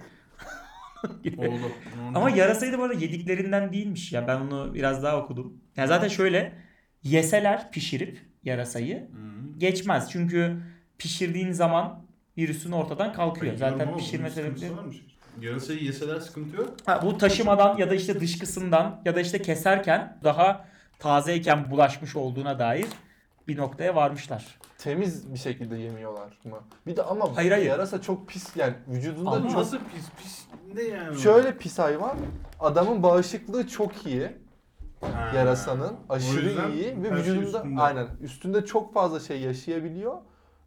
[LAUGHS] Oldu.
Ama yarasaydı bu arada yediklerinden değilmiş ya. Ben onu biraz daha okudum. Ya zaten şöyle yeseler pişirip yarasayı
Hı.
geçmez. Çünkü pişirdiğin zaman virüsün ortadan kalkıyor.
Hayır,
zaten
ama
pişirme
bunun sıkıntısı
sebepleri.
var mı? Yarasayı yeseler sıkıntı yok.
Ha, bu taşımadan ya da işte dışkısından ya da işte keserken daha tazeyken bulaşmış olduğuna dair bir noktaya varmışlar.
Temiz bir şekilde yemiyorlar mı? Bir de ama
Hayır, hayır.
yarasa çok pis yani vücudunda
Ama
çok
nasıl pis pis ne yani?
Şöyle pis hayvan. Adamın bağışıklığı çok iyi.
Ha.
Yarasanın
O yüzden
aşırı iyi ve
her şey
vücudunda
üstünde.
aynen üstünde çok fazla şey yaşayabiliyor.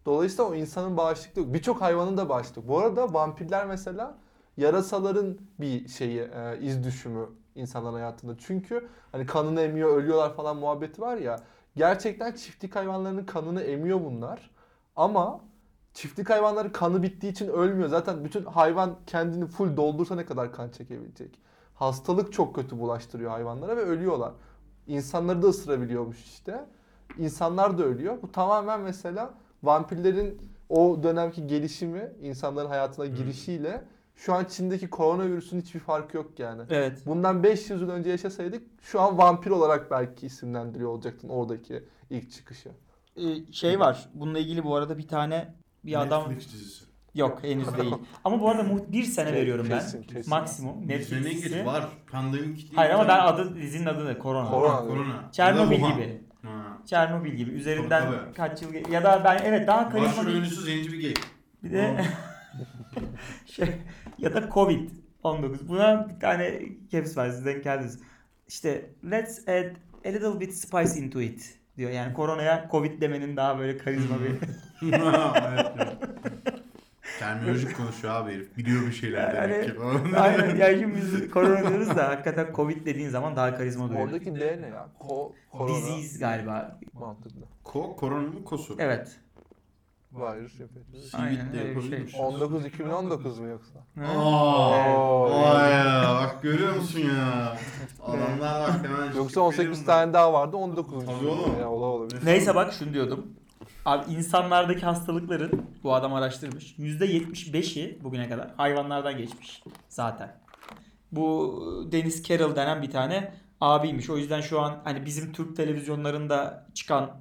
Dolayısıyla o insanın bağışıklığı birçok hayvanın da bağışıklığı. Bu arada vampirler mesela yarasaların bir şeyi e, iz düşümü insanların hayatında. Çünkü hani kanını emiyor, ölüyorlar falan muhabbeti var ya. Gerçekten çiftlik hayvanlarının kanını emiyor bunlar. Ama çiftlik hayvanları kanı bittiği için ölmüyor. Zaten bütün hayvan kendini full doldursa ne kadar kan çekebilecek? Hastalık çok kötü bulaştırıyor hayvanlara ve ölüyorlar. İnsanları da ısırabiliyormuş işte. İnsanlar da ölüyor. Bu tamamen mesela vampirlerin o dönemki gelişimi, insanların hayatına girişiyle şu an Çin'deki koronavirüsün hiçbir farkı yok yani.
Evet.
Bundan 500 yıl önce yaşasaydık şu an vampir olarak belki isimlendiriyor olacaktın oradaki ilk çıkışı.
Ee, şey var. Bununla ilgili bu arada bir tane bir adam
Netflix dizisi.
yok henüz değil. [LAUGHS] Ama bu arada muht- bir sene
Ke-
veriyorum
kesin,
ben.
kesin.
Maksimum. Netflix
Netflix
dizisi.
var. Pandemik değil.
Hayır ama
Tabii.
ben adı dizinin adı ne? Korona.
Korona.
Ha, Korona.
Çernobil
Ya da Wuhan.
gibi.
Ha.
Çernobil gibi. Üzerinden
Tabii, tabii.
kaç yıl ge- ya da ben evet daha
Başrol
karizmatik
oyuncusu zenci
[LAUGHS]
bir gay.
bir de [LAUGHS] şey ya da Covid 19. Buna bir tane caps var siz denk geldiniz. İşte let's add a little bit spice into it diyor. Yani koronaya Covid demenin daha böyle karizma bir [LAUGHS]
Evet, evet. Terminolojik konuşuyor abi herif. Biliyor bir şeyler
Yani-
demek ki falan.
Aynen ya şimdi biz korona diyoruz da hakikaten covid dediğin zaman daha karizma duyuyor.
Oradaki D ne ya? Ko korona.
Disease galiba.
Mantıklı.
Ko, koronanın kosu.
Evet.
Virüs
Aynen
de
öyle bir
yapabilirmiş.
şey.
19 2019 mu yoksa?
Aa,
Evet.
vay ya, bak görüyor musun ya? Adamlar bak hemen...
Yoksa 18 tane daha vardı 19.
Tabii oğlum.
Ya, ola olabilir.
Neyse bak şunu diyordum. Abi insanlardaki hastalıkların bu adam araştırmış. %75'i bugüne kadar hayvanlardan geçmiş zaten. Bu Deniz Carroll denen bir tane abiymiş. O yüzden şu an hani bizim Türk televizyonlarında çıkan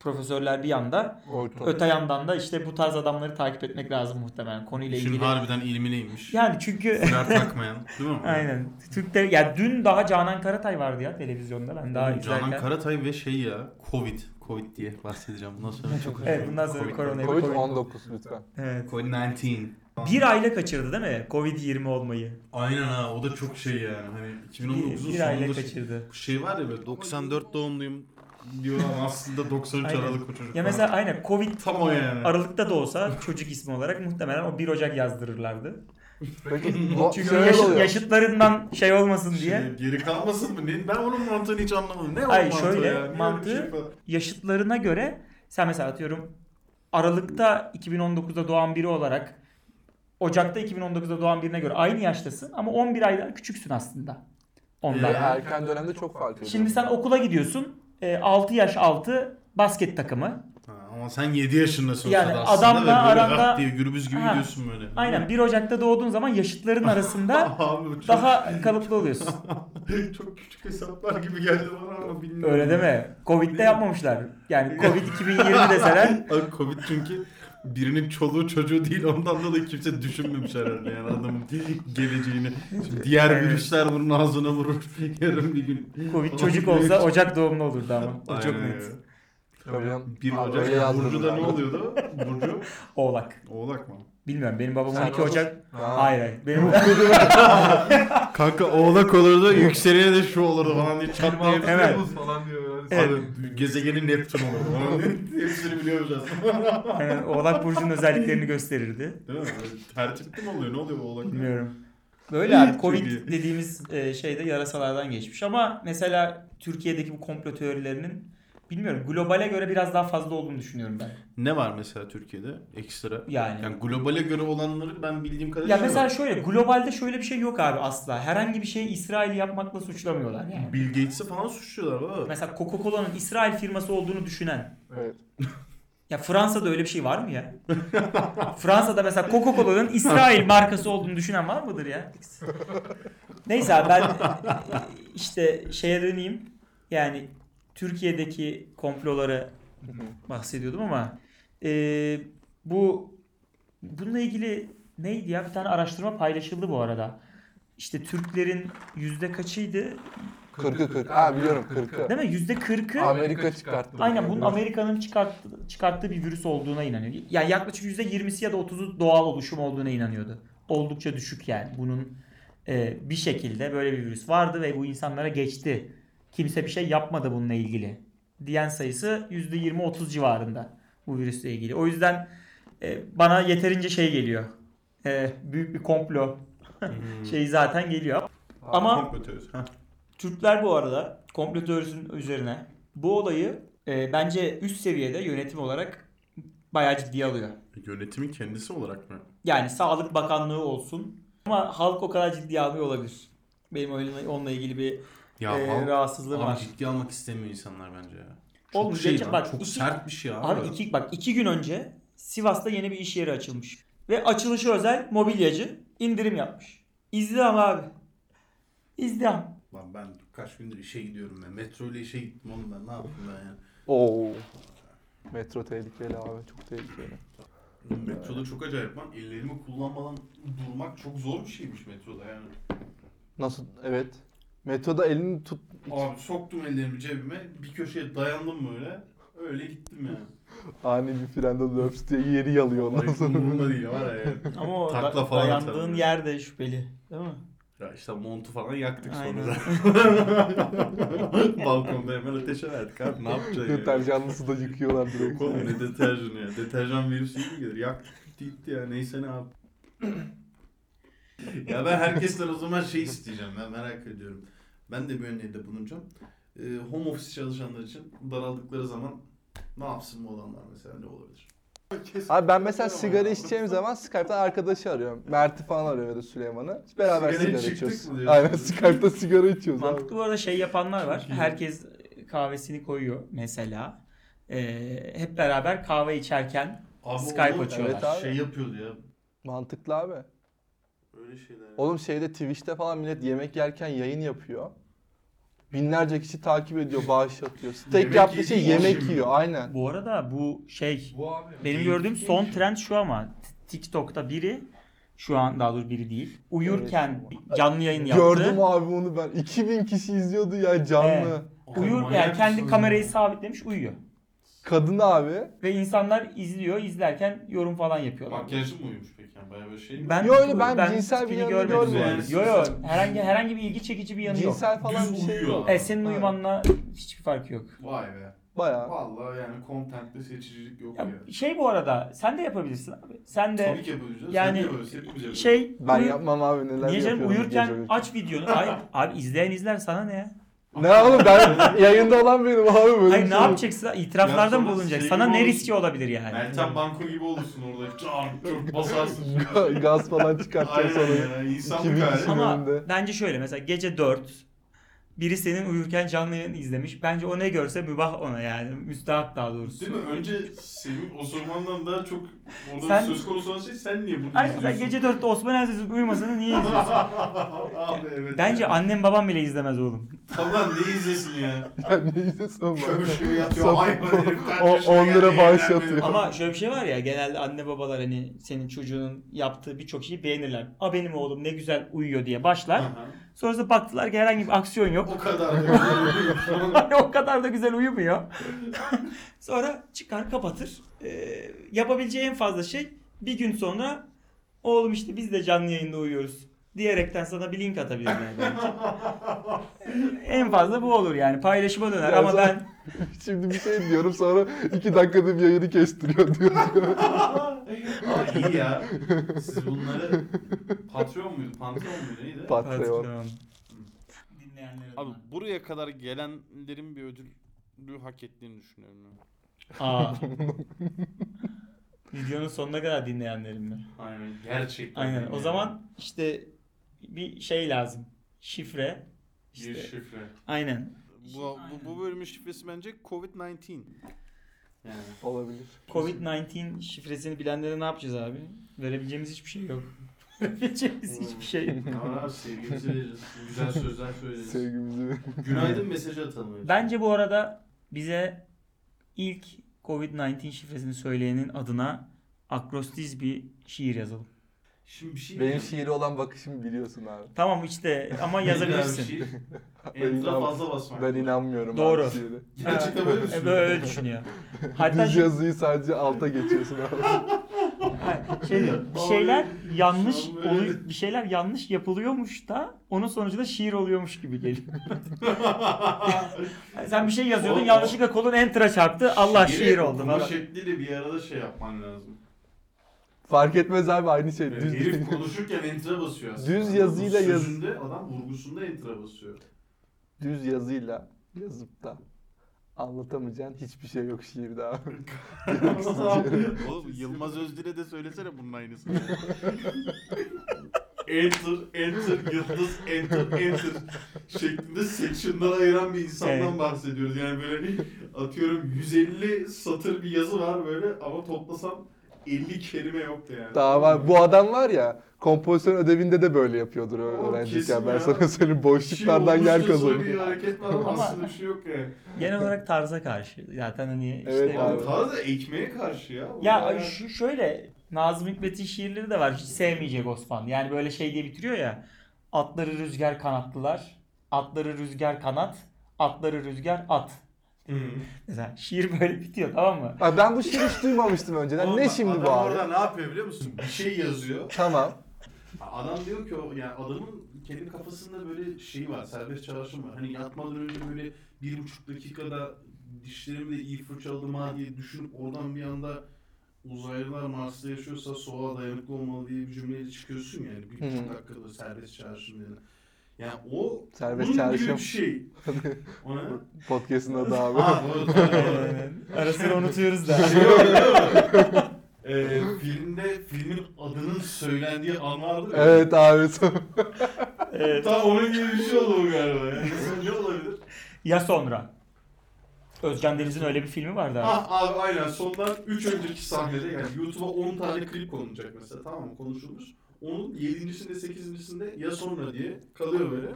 profesörler bir yanda.
Orta.
Öte yandan da işte bu tarz adamları takip etmek lazım muhtemelen konuyla
Şimdi
ilgili.
harbiden ilmineymiş.
Yani çünkü [LAUGHS]
Flört takmayan. Değil mi?
Aynen. Türk'te ya dün daha Canan Karatay vardı ya televizyonda ben daha izlerken.
Canan Karatay ve şey ya Covid. Covid diye bahsedeceğim. Bundan sonra çok
Evet, bundan sonra
Covid.
korona.
Covid-19 lütfen.
Evet.
Covid-19.
Bir ayla kaçırdı değil mi? Covid-20 olmayı.
Aynen ha o da çok şey yani. Hani 2019'un
Bir, bir ayla
sonunda şey-
kaçırdı.
bu şey var ya böyle
94 doğumluyum.
diyor ama aslında 93
Aynen.
Aralık o çocuk.
Ya
falan.
mesela aynen Covid
Tam o yani.
Aralık'ta da olsa çocuk ismi olarak muhtemelen o 1 Ocak yazdırırlardı.
Peki bu
Çünkü
şöyle
yaşı-
oluyor.
yaşıtlarından şey olmasın diye
Şimdi geri kalmasın mı? Ne- Ben onun mantığını hiç anlamadım. Ne
Hayır,
o mantığı
şöyle,
ya? Niye öyle bir
mantığı-
şey falan?
yaşıtlarına göre sen mesela atıyorum Aralık'ta 2019'da doğan biri olarak Ocak'ta 2019'da doğan birine göre aynı yaştasın ama 11 aydan küçüksün aslında. Ondan.
Ee,
Erken dönemde çok fark ediyor.
Şimdi sen okula gidiyorsun. e, 6 yaş altı basket takımı.
Ha, ama sen 7 yaşındasın
Yani
yani aslında
adamla
ve böyle
aranda-
rap diye gürbüz gibi
Ha.
gidiyorsun böyle.
Aynen 1 Ocak'ta doğduğun zaman yaşıtların arasında
[LAUGHS] Abi bu çok,
daha kalıplı oluyorsun.
[LAUGHS] çok küçük hesaplar gibi geldi bana ama bilmiyorum.
Öyle deme. Covid'de yapmamışlar. Yani Covid 2020
[LAUGHS]
deseler
Abi Covid çünkü birinin çoluğu çocuğu değil ondan dolayı kimse düşünmemiş herhalde yani adamın geleceğini. Şimdi diğer
Evet.
virüsler bunun ağzına vurur [LAUGHS] yarın bir gün.
Covid çocuk olsa Ocak doğumlu olurdu ama. O çok
Aynen
net.
öyle.
Tabii canım.
1
Abi
Ocak
öyle yazdım
Burcu da ne
ben.
oluyordu? Burcu
Oğlak.
Oğlak mı?
Bilmiyorum benim babam
Sen
12 Ocak.
Ha.
Hayır hayır. Benim
[LAUGHS] Kanka oğlak olurdu yükselene de şu olurdu falan diye çatlayıp.
Evet.
Falan diyor.
Evet.
Abi, gezegenin Neptün olurdu falan diye. Hepsini biliyoruz aslında.
Aynen, Oğlak burcunun özelliklerini gösterirdi.
Değil mi? Böyle Tertipli mi oluyor? Ne oluyor bu oğlak?
Bilmiyorum. Böyle abi
Çok
Covid
iyi.
dediğimiz e, şeyde yarasalardan geçmiş ama mesela Türkiye'deki bu komplo teorilerinin bilmiyorum globale göre biraz daha fazla olduğunu düşünüyorum ben.
Ne var mesela Türkiye'de ekstra?
Yani.
Yani globale göre olanları ben bildiğim kadarıyla
Ya
şey
mesela şöyle globalde şöyle bir şey yok abi asla. Herhangi bir şeyi İsrail'i yapmakla suçlamıyorlar yani.
Bill Gates'i falan suçluyorlar baba.
Mesela Coca-Cola'nın İsrail firması olduğunu düşünen.
Evet.
Ya Fransa'da öyle bir şey var mı ya? Fransa'da mesela Coca-Cola'nın İsrail markası olduğunu düşünen var mıdır ya? Neyse abi ben e, işte şeye döneyim. Yani Türkiye'deki komploları bahsediyordum ama e, bu bununla ilgili neydi ya bir tane araştırma paylaşıldı bu arada. İşte Türklerin yüzde kaçıydı?
Kırkı kırk. Ha biliyorum kırkı.
Değil mi? Yüzde kırkı
Amerika çıkarttı.
aynen bunun Amerika'nın çıkarttı, çıkarttığı bir virüs olduğuna inanıyor. Yani yaklaşık yüzde yirmisi ya da otuzu doğal oluşum olduğuna inanıyordu. Oldukça düşük yani. Bunun e, bir şekilde böyle bir virüs vardı ve bu insanlara geçti. Kimse bir şey yapmadı bununla ilgili. Diyen sayısı yüzde yirmi otuz civarında bu virüsle ilgili. O yüzden e, bana yeterince şey geliyor. E, büyük bir komplo şeyi zaten geliyor. Ama
Komplo teorisi. Ha.
Türkler bu arada komplo teorisinin üzerine bu olayı e, bence üst seviyede yönetim olarak bayağı ciddiye alıyor.
Yönetimin kendisi olarak mı?
Yani Sağlık Bakanlığı olsun ama halk o kadar ciddiye almıyor olabilir. Benim öyle- onunla ilgili bir
Ya
e,
halk-
rahatsızlığım
Abi
var.
ciddi almak istemiyor insanlar bence ya.
Oğlum geçen-
lan,
bak
çok
iki-
sert bir şey ya.
Abi iki, bak iki gün önce Sivas'ta yeni bir iş yeri açılmış. Ve açılışı özel mobilyacı indirim yapmış. İzdiham abi. İzdiham.
[LAUGHS] Lan ben kaç gündür işe gidiyorum ya. Metro ile işe gittim oğlum ben ne yapayım ben ya.
Oo. Metro tehlikeli abi çok tehlikeli.
Metroda çok acayip lan. Ellerimi kullanmadan durmak çok zor bir şeymiş metroda yani.
Nasıl? Evet. Metroda elini tut.
Abi soktum ellerimi cebime. Bir köşeye dayandım böyle. Öyle gittim
[LAUGHS]
yani.
Ani bir frende löps diye yeri yalıyor ondan
Hayır,
sonra.
umurumda değil var ya.
Ama o
Takla
da-
falan
dayandığın
atar.
yer de şüpheli. Değil mi?
Ya işte montu falan yaktık
Aynen.
sonra. [LAUGHS] Balkonda hemen ateşe verdik abi. Ne yapacaksın
[LAUGHS]
ya?
Deterjanlı suda yıkıyorlar direkt.
Oğlum ne deterjanı ya. Deterjan virüsü gibi gelir. Yaktık gitti gitti ya. Neyse ne abi. ya ben herkesten o zaman şey isteyeceğim. Ben merak ediyorum. Ben de bir öneride bulunacağım. Ee, home office çalışanlar için daraldıkları zaman ne yapsın bu adamlar mesela ne olabilir?
Abi ben mesela sigara içeceğim zaman Skype'tan arkadaşı arıyorum. Mert'i falan arıyor ya da Süleyman'ı. Hiç beraber
Sigara
sigara,
içtik
içiyoruz.
mi diyorsun?
Aynen Skype'ta sigara içiyoruz abi.
Mantıklı bu arada şey yapanlar var.
Çok iyi.
Herkes e, kahvesini koyuyor mesela. Ee, hep beraber kahve içerken Skype
oğlum,
açıyorlar.
Evet abi.
Şey yapıyordu ya.
Mantıklı abi.
Öyle şeyler. ya.
Oğlum şeyde Twitch'te falan millet yemek yerken yayın yapıyor. Binlerce kişi takip ediyor, bağış atıyor. Steak
Yemek
yaptığı şey
yediği
yemek
için
yiyor aynen.
bu arada bu şey
Bu abi.
benim gördüğüm son trend şu ama T- TikTok'ta biri şu an daha doğrusu biri değil. Uyurken canlı yayın yaptı.
Gördüm abi onu ben. 2000 kişi izliyordu ya canlı.
Uyur yani kendi kamerayı sabitlemiş uyuyor.
Kadın abi.
Ve insanlar izliyor, izlerken yorum falan yapıyorlar.
Makyajlı mı uyumuş peki? Yani bayağı böyle şey mi?
Ben
Yo, öyle ben cinsel bir
tipini
yanını
görmedim.
görmedim.
Yo yo herhangi herhangi bir ilgi çekici bir yanı yok.
Cinsel falan bir
Düz
şey
uyuyor
yok.
abi.
E, senin uyumanla hiçbir farkı yok.
Vay be.
Bayağı.
Vallahi yani kontentte seçicilik yok ya.
Ya şey bu arada sen de yapabilirsin abi. Sen de
Tabii ki yapabiliriz.
yani-
Yani yapabiliriz. Hepimiz yapıyoruz.
şey
Ben
uyu-
yapmam abi neler
Niye canım
yapıyorum. gece
uyurken
uyurken.
aç videonu.
[LAUGHS]
Ay, abi izleyen izler sana ne ya?
Ne oğlum ben yayında olan benim abi böyle. bir
Hayır ne
şey yok.
yapacaksın? İtiraflarda mı
sonra
bulunacak?
sevgili
Sana ne
olursun.
riski olabilir yani?
Meltem Banko gibi olursun orada. [LAUGHS] Çarp çarp
[LAUGHS]
basarsın.
Gaz falan çıkartacak
Aynen
sonra.
ya. İnsanlık
2000
hali.
kişi.
Ama
önünde.
bence şöyle mesela gece 4 biri senin uyurken canlı yayın izlemiş. Bence o ne görse mübah ona yani. Müstahak daha doğrusu.
Değil mi? Önce senin osurmandan daha çok orada
Sen-
söz konusu olan şey sen niye bunu
Hayır
izliyorsun?
mesela gece 4'te Osman Aziz'in uyumasını
[LAUGHS]
niye izliyorsun?
Abi evet.
Bence
ya.
annem babam bile izlemez oğlum.
Tamam ne izlesin ya?
[LAUGHS] Ya neyse sonra.
Kömüşlüğü yatıyor. Hayvan herif.
[LAUGHS] O-
kardeşim
on lira
geldi,
bağış
eğlenmedi. [LAUGHS]
yatıyor.
Ama şöyle bir şey var ya genelde anne babalar hani senin çocuğunun yaptığı birçok şeyi beğenirler. A benim oğlum ne güzel uyuyor diye başlar.
Aha.
Sonrasında baktılar ki herhangi bir aksiyon yok.
O kadar. da-
Hani [LAUGHS] o kadar da güzel uyumuyor. [LAUGHS] sonra çıkar kapatır. Ee, yapabileceği en fazla şey bir gün sonra oğlum işte biz de canlı yayında uyuyoruz diyerekten sana bir link atabilirler belki. en fazla bu olur yani paylaşıma döner
Ya
ama
zaten-
ben
Şimdi bir şey diyorum sonra iki dakikada bir yayını kestiriyor
[LAUGHS]
diyor.
Ama
[LAUGHS]
iyi ya. Siz bunları Patreon muydu? Pantolon muydu? Neydi?
Patreon.
Dinleyenlere
Abi buraya kadar gelenlerin bir ödülü hak ettiğini düşünüyorum. ben.
Aa. [LAUGHS] Videonun sonuna kadar dinleyenlerim mi?
Aynen. Gerçekten.
Aynen. O
yani.
zaman işte bir şey lazım. Şifre.
Bir
İşte-
şifre.
Aynen.
Bu, bu, bu bölümün şifresi bence Covid-19.
[LAUGHS]
Yani.
Olabilir.
Covid-19 şifresini bilenlere ne yapacağız abi? Verebileceğimiz hiçbir şey yok. [LAUGHS] Verebileceğimiz
Hmm.
hiçbir şey yok.
Ama sevgimizi veririz. Güzel sözler söyleriz.
Sevgimizi
Günaydın mesajı atalım. önce.
Bence bu arada bize ilk Covid-19 şifresini söyleyenin adına akrostiz bir şiir yazalım.
Şimdi bir şey
Benim
diyeceğim.
şiiri olan bakışımı biliyorsun abi.
Tamam işte ama
Bir daha bir
yazabilirsin.
şey.
[LAUGHS] Ben
Entra
inan-
fazla basmak.
Ben inanmıyorum
Doğru.
abi şiiri.
Gerçekten böyle
[LAUGHS] E,
düşünüyorum.
Böyle düşünüyor. Hatta
Düz
şu-
yazıyı sadece alta geçiyorsun abi.
şey, bir şeyler yanlış
Şu an böyle-
olu- bir şeyler yanlış yapılıyormuş da onun sonucunda şiir oluyormuş gibi
[LAUGHS]
geliyor. Yani sen bir şey yazıyordun
Oğlum,
yanlışlıkla kolun enter'a çarptı. Allah
Şiiri
şiir oldu
okuma
falan.
şekliyle bir arada şey yapman lazım.
Fark etmez abi aynı şey.
Evet,
Düz
Ee, herif konuşurken enter'a basıyor aslında.
Düz yazıyla
Adam
yaz-
Sözünde adam vurgusunda enter'a basıyor.
[LAUGHS] düz yazıyla yazıp da anlatamayacağın hiçbir şey yok şiirde abi.
Oğlum Yılmaz Özdil'e de söylesene bunun aynısını.
enter, enter, yıldız, enter, enter şeklinde section'lara ayıran bir insandan
Evet.
bahsediyoruz. Yani böyle atıyorum 150 satır bir yazı var böyle ama toplasam 50 kelime yoktu yani.
Daha var. Bu adam var ya kompozisyon ödevinde de böyle yapıyordur
Oğlum,
öğrenciyken.
kesin
Ben
ya.
sana söyleyeyim
Bir
boşluklardan yer
olmuşçasına
kazanıyor.
Bir hareket var ama
Ama-
aslında bir şey yok yani.
Genel olarak tarza karşı. Zaten hani işte
Evet abi.
Abi tarzı ekmeğe karşı ya. Bu
Ya şu şöyle Nazım Hikmet'in şiirleri de var. Hiç sevmeyecek Osman. Yani böyle şey diye bitiriyor ya. Atları rüzgar kanatlılar. Atları rüzgar kanat. Atları rüzgar at.
Hı.
Mesela şiir böyle bitiyor tamam mı?
Abi ben bu şiiri hiç duymamıştım önceden.
Oğlum
ne
bak,
şimdi
adam
bu abi?
orada ne yapıyor biliyor musun? Bir şey yazıyor.
Tamam.
Adam diyor ki o yani adamın kendi kafasında böyle şey var, serbest çalışım var. Hani yatmadan önce böyle bir buçuk dakikada dişlerimi de iyi fırçaladım ha diye düşünüp oradan bir anda uzaylılar Mars'ta yaşıyorsa soğuğa dayanıklı olmalı diye bir cümleyle çıkıyorsun yani. Bir
Hı hı.
buçuk dakikada serbest çalışım dedi. Yani o
Serbest
bunun gibi
çalışım.
bir
[LAUGHS]
şey. O ne?
Podcast'ın
[LAUGHS]
adı abi.
Ha, doğru, doğru, doğru.
Ara sıra unutuyoruz da.
Şey yok, [LAUGHS] değil mi? Ee, filmde filmin adının söylendiği an vardı ya.
evet abi. tamam.
Evet.
Tam onun gibi bir şey oldu bu galiba. Yani
[LAUGHS]
son ne olabilir?
Ya sonra? Özcan Deniz'in öyle bir filmi vardı abi.
Ah abi aynen sondan 3 önceki sahnede yani YouTube'a 10 tane klip konulacak mesela tamam mı konuşulmuş. Onun 7.sinde 8.sinde ya sonra diye kalıyor böyle.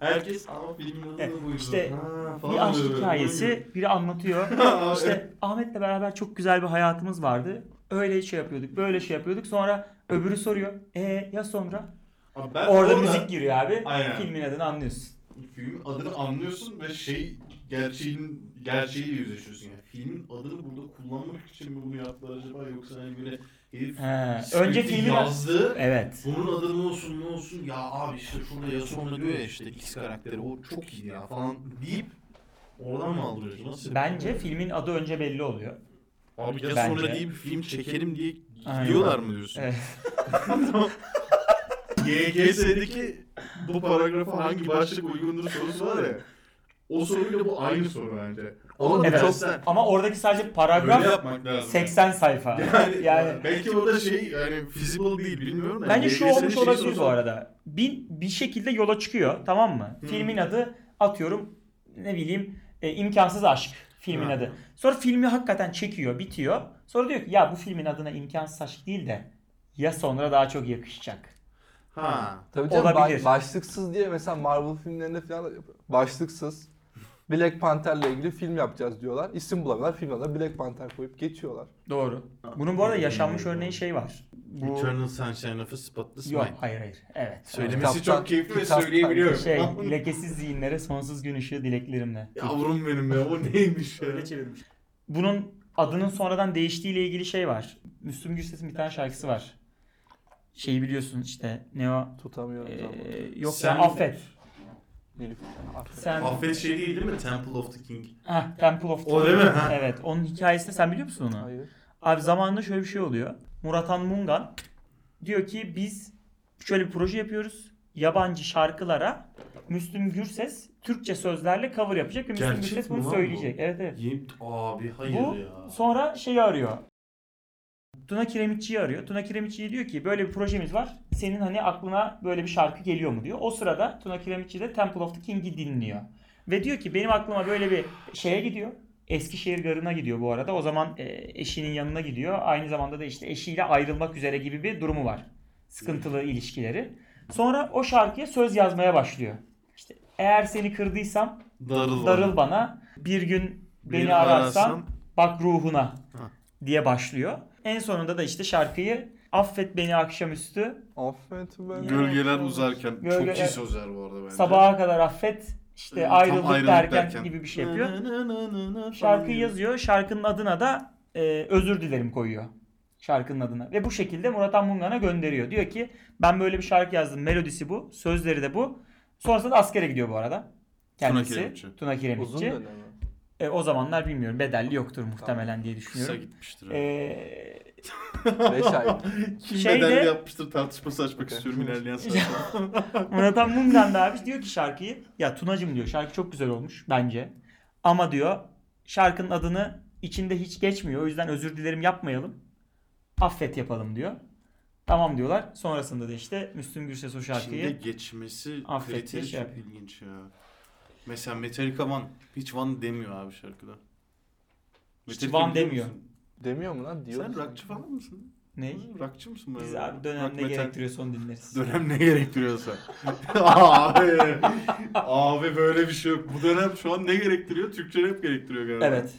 Herkes ama filmin adı da buydu.
İşte
Ha, falan
Bir aşk
oluyor böyle.
hikayesi biri anlatıyor.
[LAUGHS] Ha,
İşte Ahmet'le beraber çok güzel bir hayatımız vardı. Öyle şey yapıyorduk, böyle şey yapıyorduk. Sonra öbürü soruyor. E ya sonra?
Abi ben
Orada müzik giriyor abi.
Aynen.
Filmin adını anlıyorsun.
filmin adını anlıyorsun ve şey gerçeğin gerçeğiyle yüzleşiyorsun yani. Filmin adını burada kullanmak için mi bunu yaptılar acaba yoksa hani böyle herif
He. Önce
script'i
filmin
yazdı.
Evet.
Bunun adı ne olsun ne olsun ya abi işte şurada ya sonra diyor ya işte X karakteri o çok iyi ya falan deyip oradan mı aldırıyorsun? Nasıl?
Bence filmin adı önce belli oluyor.
Abi ya
Bence.
sonra deyip film çekelim diye
Aynen.
diyorlar mı diyorsun? [LAUGHS]
Evet.
YGS'deki bu paragrafa hangi başlık uygundur sorusu var ya. O soruyla bu aynı soru bence.
Oğlum bu
Evet.
çok...
Sen
Ama oradaki sadece
öyle
paragraf
yapmak lazım.
80 sayfa.
Yani,
Yani-
belki o da şey yani feasible değil bilmiyorum da.
Hani Bence şu
YGS'de
olmuş
şey
olabilir
sorusu-
bu arada. Bir, bir şekilde yola çıkıyor tamam mı?
Hı.
Filmin adı atıyorum ne bileyim e, imkansız aşk filmin
Ha.
adı. Sonra filmi hakikaten çekiyor bitiyor. Sonra diyor ki ya bu filmin adına imkansız aşk değil de ya sonra daha çok yakışacak.
Ha.
Tabii canım ba-
Olabilir.
başlıksız diye mesela Marvel filmlerinde falan da yapıyor. Başlıksız Black Panther'la ilgili film yapacağız diyorlar. İsim bulamıyorlar. Film adına Black Panther koyup geçiyorlar.
Doğru. Bunun bu arada yaşanmış örneği şey var. Bu...
Eternal Sunshine of a Spotless
Yok
Mind.
hayır hayır. Evet.
Söylemesi
Kitaptan-
çok keyifli ve
kitaptan
söyleyebiliyorum.
[LAUGHS]
[LAUGHS]
Şey lekesiz zihinlere sonsuz gün ışığı dileklerimle.
Yavrum benim ya o neymiş ya.
Öyle çevirmiş. Bunun adının sonradan değiştiğiyle ilgili şey var. Müslüm Gürses'in bir tane şarkısı var. Şeyi biliyorsun işte ne o?
Tutamıyorum
Ee,
zaman.
yok
Sen-
ya affet.
Nilüf. Aferin.
Sen
Affet şey değil değil mi? Temple of the King.
Heh, Temple of
O değil mi? Ha.
Evet onun hikayesini sen biliyor musun onu?
Hayır.
Abi zamanında şöyle bir şey oluyor. Muratan Mungan diyor ki biz şöyle bir proje yapıyoruz. Yabancı şarkılara Müslüm Gürses Türkçe sözlerle cover yapacak ve Müslüm
Gerçek
Gürses
mi
bunu
lan
söyleyecek. Evet evet.
Yem abi hayır
Bu-
ya.
Sonra şeyi arıyor. Tuna Kiremitçi'yi arıyor. Tuna Kiremitçi diyor ki böyle bir projemiz var. Senin hani aklına böyle bir şarkı geliyor mu diyor. O sırada Tuna Kiremitçi de Temple of the King'i dinliyor. Ve diyor ki benim aklıma böyle bir şeye gidiyor. Eskişehir Garı'na gidiyor bu arada. O zaman e, eşinin yanına gidiyor. Aynı zamanda da işte eşiyle ayrılmak üzere gibi bir durumu var. Sıkıntılı ilişkileri. Sonra o şarkıya söz yazmaya başlıyor. İşte eğer seni kırdıysam
Darıl.
darıl bana. Bir gün beni
Bir
ararsan bak ruhuna diye başlıyor. En sonunda da işte şarkıyı Affet beni akşamüstü.
Affet beni.
Gölgeler uzarken
Gölgeler-
çok iyi sözler bu arada bence.
Sabaha kadar affet. işte
Ee, tam
ayrılık,
ayrılık
derken,
derken.
gibi bir şey yapıyor.
Na na na na na
Şarkıyı
falan.
yazıyor. Şarkının adına da e, özür dilerim koyuyor. Şarkının adına. Ve bu şekilde Murat Anmungan'a gönderiyor. Diyor ki ben böyle bir şarkı yazdım. Melodisi bu. Sözleri de bu. Sonrasında da askere gidiyor bu arada.
Tuna
Kendisi.
Kiremitçi.
Tuna Kiremitçi.
Uzun dönemi.
E, o zamanlar bilmiyorum. Bedelli yoktur muhtemelen diye
Kısa
düşünüyorum.
gitmiştir. abi.
E,
5 ay.
Kim
şeyde-
bedelli yapmıştır tartışması açmak
Okey.
istiyorum ilerleyen saatte.
Murat Anmungan da abi diyor ki şarkıyı ya Tunacım diyor şarkı çok güzel olmuş bence. Ama diyor şarkının adını içinde hiç geçmiyor. O yüzden özür dilerim yapmayalım. Affet yapalım diyor. Tamam diyorlar. Sonrasında da işte Müslüm Gürses o şarkıyı.
İçinde geçmesi
Affet diye
kriteri
şey
çok
yapıyor.
ilginç ya. Mesela Metallica Van hiç Van demiyor abi şarkıda.
Hiç
Metallica
Van
biliyor
demiyor.
musun?
Demiyor mu lan? Diyor
Sen
musun?
rockçı falan mısın?
Ne?
Rockçı mısın?
Biz
böyle?
abi dönem
Rock
ne
metal.
gerektiriyorsa onu dinleriz.
Dönem ne gerektiriyorsa. [LAUGHS] abi. abi böyle bir şey yok. Bu dönem şu an ne gerektiriyor? Türkçe rap gerektiriyor galiba.
Evet.